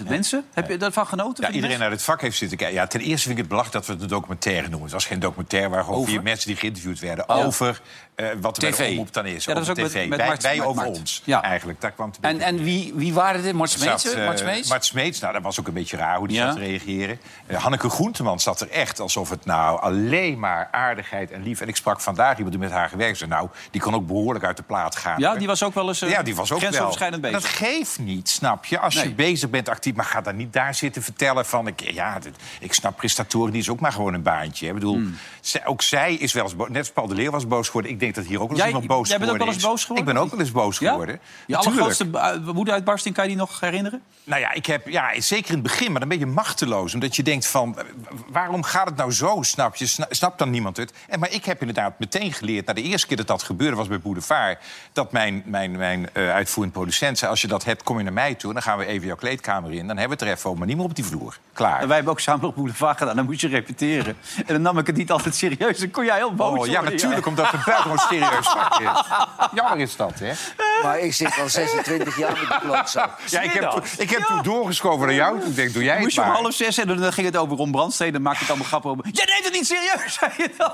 S1: 108.000 mensen. Heb je daarvan genoten?
S3: Ja,
S1: van die
S3: iedereen uit het vak heeft zitten kijken. Ja, ten eerste vind ik het belachelijk dat we het een documentaire noemen. Het was geen documentaire, maar gewoon vier mensen die geïnterviewd werden... over eh, wat er bij
S8: TV.
S3: de omroep dan is.
S1: Ja, dat
S3: over
S1: is ook
S3: tv.
S1: met- met
S3: wij
S1: Mart-
S3: wij
S1: met
S3: over
S1: Mart.
S3: ons,
S1: Ja.
S3: eigenlijk. Daar kwam het een
S8: En, en wie, wie waren dit? Mart Smeets?
S3: Zat, eh,
S8: Mart Smeets?
S3: Mart Smeets, nou, dat was ook een beetje raar hoe die
S8: Ja.
S3: zat te reageren. Eh, Hanneke Groenteman zat er echt alsof het nou alleen maar aardigheid en lief... En ik sprak vandaag iemand die met haar gewerkt heeft. Nou, die kon ook behoorlijk uit de plaat gaan.
S1: mensen? Ja,
S3: hoor.
S1: die was ook wel eens eh,
S3: ja, die was ook
S1: grensoverschrijdend
S3: wel.
S1: bezig.
S3: Dat geeft niet, snap je? Als
S1: Nee.
S3: je bezig bent actief, maar ga dan niet daar zitten vertellen van... Ik, ja, dit- ik snap prestatoren, die is ook maar gewoon een baantje. hè. Ik bedoel,
S1: Hmm.
S3: zij- ook zij is wel eens boos. Net als Paul de Leer was boos geworden. Ik denk dat hier ook wel eens
S1: Jij-
S3: iemand boos
S1: jij bent ook
S3: geworden
S1: wel eens boos
S3: is.
S1: geworden,
S3: Ik ben ook
S1: of
S3: wel eens boos
S1: Ja?
S3: geworden.
S1: Je
S3: Natuurlijk.
S1: allergrootste eh, woedeuitbarsting, kan je die nog herinneren?
S3: Nou ja, ik heb, ja, zeker in het begin, maar dan ben je machteloos. Omdat je denkt van, eh, waarom gaat het nou zo, snap je? Sna- Snapt dan niemand het? En, maar ik heb inderdaad meteen geleerd, nou, de eerste keer dat dat gebeurde was bij Boulevard... dat mijn, mijn, mijn eh, uitvoerend producent zei, als je dat hebt, kom je naar mij toe... dan gaan we even jouw kleedkamer in, dan hebben we het er even over, maar niet meer op die vloer. Klaar.
S1: En wij hebben ook samen op Boulevard gedaan. Dan moest je repeteren. En dan nam ik het niet altijd serieus. Dan kon jij heel boos
S3: Oh, ja,
S1: worden,
S3: natuurlijk, omdat het buitengewoon serieus vak is. Jammer is dat, hè?
S2: Maar ik zit al 26 jaar met die klootzak.
S3: Ja, ik heb, ik heb toen doorgeschoven naar jou. Ik denk, doe jij
S1: Dan
S3: het
S1: moest je om
S3: maar.
S1: half zes en dan dan ging het over Ron Brandstede. Dan maakte het allemaal grappen over. Jij neemt het niet serieus, zei je dan.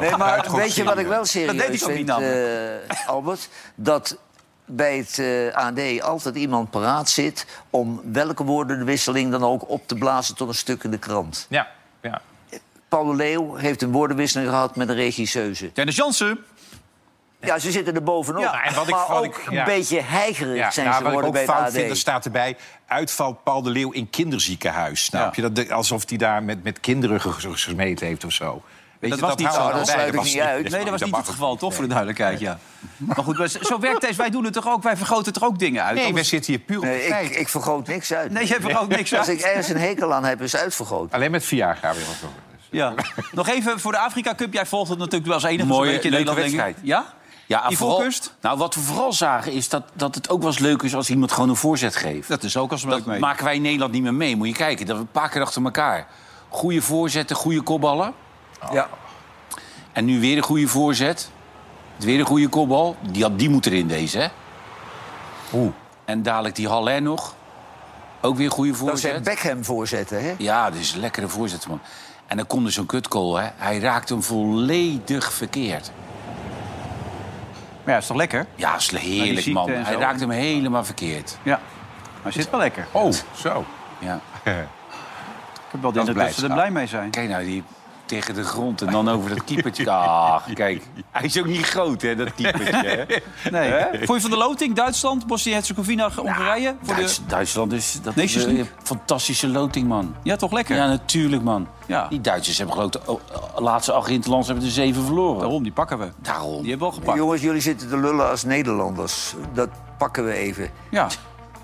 S2: Nee, maar
S3: Buitengewoon
S2: weet je wat ik wel
S1: serieus.
S2: serieus
S1: Dat deed ik ook
S2: vind,
S1: niet
S2: eh, Albert? Dat bij het eh, AD altijd iemand paraat zit... om welke woordenwisseling dan ook op te blazen tot een stuk in de krant.
S3: Ja, ja.
S2: Paul de Leeuw heeft een woordenwisseling gehad met een regisseuse.
S1: Dennis Jansen.
S2: Ja, ze zitten er bovenop.
S3: Ja, en wat ik-
S2: maar
S3: wat
S2: ook
S3: ik-
S2: een
S3: ja.
S2: beetje heigerig
S3: Ja,
S2: zijn
S3: nou, wat ik
S2: ze geworden
S3: ook
S2: bij het
S3: fout
S2: AD.
S3: vind, er staat erbij... uitval Paul de Leeuw in kinderziekenhuis, snap
S1: Ja.
S3: je? Dat, de- alsof hij daar met, met kinderen ge- ge- gesmeten heeft of zo. Weet
S1: Dat
S3: je,
S1: was niet
S3: houdt
S1: zo,
S3: er
S1: dat
S3: bij.
S2: sluit ik niet uit.
S1: Nee, dat was niet
S3: mag
S1: het geval,
S3: ook
S1: toch?
S3: niet.
S1: Voor de duidelijkheid, ja. Maar goed, maar zo werkt deze. Wij doen het toch ook? Wij vergroten er ook dingen uit.
S3: Nee, wij
S1: Anders-
S3: zitten hier puur op
S2: Nee,
S3: de
S2: ik,
S3: feit.
S2: ik vergroot niks uit.
S1: nee jij vergroot niks
S2: Als
S1: uit.
S2: ik ergens een hekel aan heb, is uitvergroot.
S3: Alleen met Viagra weer wat over.
S1: Ja. Nog even voor de Afrika Cup. Jij volgt het natuurlijk wel als enige.
S8: Mooie,
S1: zo'n beetje in
S8: leuke
S1: Nederland, denk ik.
S8: wedstrijd.
S1: Ja?
S8: Ja,
S1: Die
S8: vooral-
S1: voorkust?
S8: Nou, wat we vooral zagen is dat, dat het ook wel eens leuk is als iemand gewoon een voorzet geeft.
S1: Dat is ook als
S8: Dat
S1: leuk mee.
S8: maken wij in Nederland niet meer mee. Moet je kijken, dat we een paar keer achter elkaar. Goede voorzetten, goede kopballen.
S2: Ja.
S8: En nu weer een goede voorzet. Weer een goede kopbal. Die, had- die moet erin deze, hè?
S3: Oeh.
S8: En dadelijk die Haller nog. Ook weer een goede
S2: Dat zijn
S8: voorzet.
S2: Beckham voorzetten, hè?
S8: Ja, dit is een lekkere voorzet, man. En
S3: En dan komt er zo'n kutkool, hè. Hij raakt hem volledig verkeerd.
S1: Maar ja, is toch lekker?
S3: Ja, is
S1: Maar die
S3: heerlijk,
S1: ziekte
S3: man.
S1: en
S3: Hij
S1: zo.
S3: raakt hem helemaal verkeerd.
S1: Ja, maar zit wel lekker.
S3: Oh,
S12: zo.
S3: Ja.
S1: Ik heb wel de indruk dat ze er blij mee zijn.
S3: Kijk nou, die tegen de grond en dan over dat keepertje. Ah, kijk. Hij is ook niet groot, hè, dat keepertje. hè.
S1: Nee.
S3: Hè?
S1: Vond je van de loting? Duitsland, Bosnië-Herzegovina, Hongarije? Voor de-
S3: Duits- Duitsland is dat
S1: Nations
S3: is een
S1: League?
S3: fantastische loting, man.
S1: Ja, toch lekker?
S3: Ja, natuurlijk, man.
S1: Ja.
S3: Die Duitsers hebben geloof ik de o- o- laatste acht interlands hebben er zeven verloren.
S1: Daarom, die pakken we. Die
S3: Daarom.
S1: hebben we al gepakt.
S2: Jongens, jullie zitten te lullen als Nederlanders. Dat pakken we even.
S1: Ja,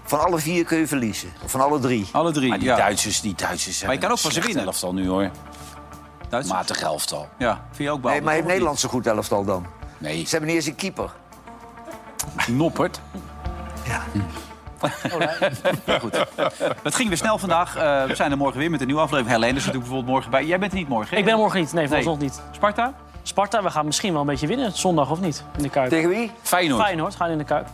S2: Van alle vier kun je verliezen. Of Van alle
S3: Oh,
S2: drie.
S1: alle drie.
S3: Maar die
S1: ja.
S3: Duitsers, die Duitsers
S1: Maar je kan ook van ze winnen.
S3: elftal nu, hoor.
S1: Duitsers?
S3: Matig elftal.
S1: Ja, vind je ook
S2: Nee,
S1: behandeld?
S2: maar heeft
S1: of niet?
S2: Nederland zo'n goed elftal dan?
S3: Nee,
S2: Ze hebben niet eens een keeper.
S3: Noppert.
S1: Het ging weer snel vandaag. Eh, we zijn er morgen weer met een nieuwe aflevering. Helene is natuurlijk bijvoorbeeld morgen bij. Jij bent er niet morgen, hè?
S4: Ik ben morgen niet. Nee, vooralsnog niet.
S1: Sparta?
S4: Sparta, we gaan misschien wel een beetje winnen. Zondag of niet? In de Kuip.
S2: Tegen wie?
S3: Feyenoord.
S4: Feyenoord gaan in de Kuip.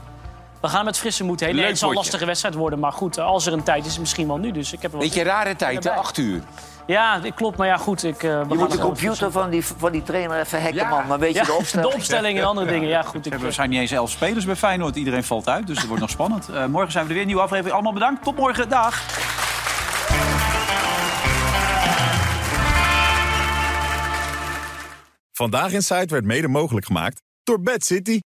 S4: We gaan met frisse moed heen.
S3: Leuk
S4: Nee, het zal een
S3: potje.
S4: lastige wedstrijd worden. Maar goed, eh, als er een tijd is, misschien wel nu. Dus ik heb er wel
S3: Beetje
S4: zin in.
S3: rare tijd, hè? Acht uur.
S4: Ja, dit klopt. Maar ja, goed. Ik, eh, we
S2: Je
S4: gaan
S2: moet de
S4: er gewoon
S2: computer van die, van die trainer even hacken,
S3: Ja.
S2: man. Dan weet je
S4: Ja,
S2: de opstelling.
S4: en andere dingen. Ja, goed. Ik,
S1: We zijn niet eens elf spelers bij Feyenoord. Iedereen valt uit, dus het wordt nog spannend. Eh, morgen zijn we er weer. Nieuwe aflevering. Allemaal bedankt. Tot morgen. Dag.
S13: Vandaag in Site werd mede mogelijk gemaakt door Bad City.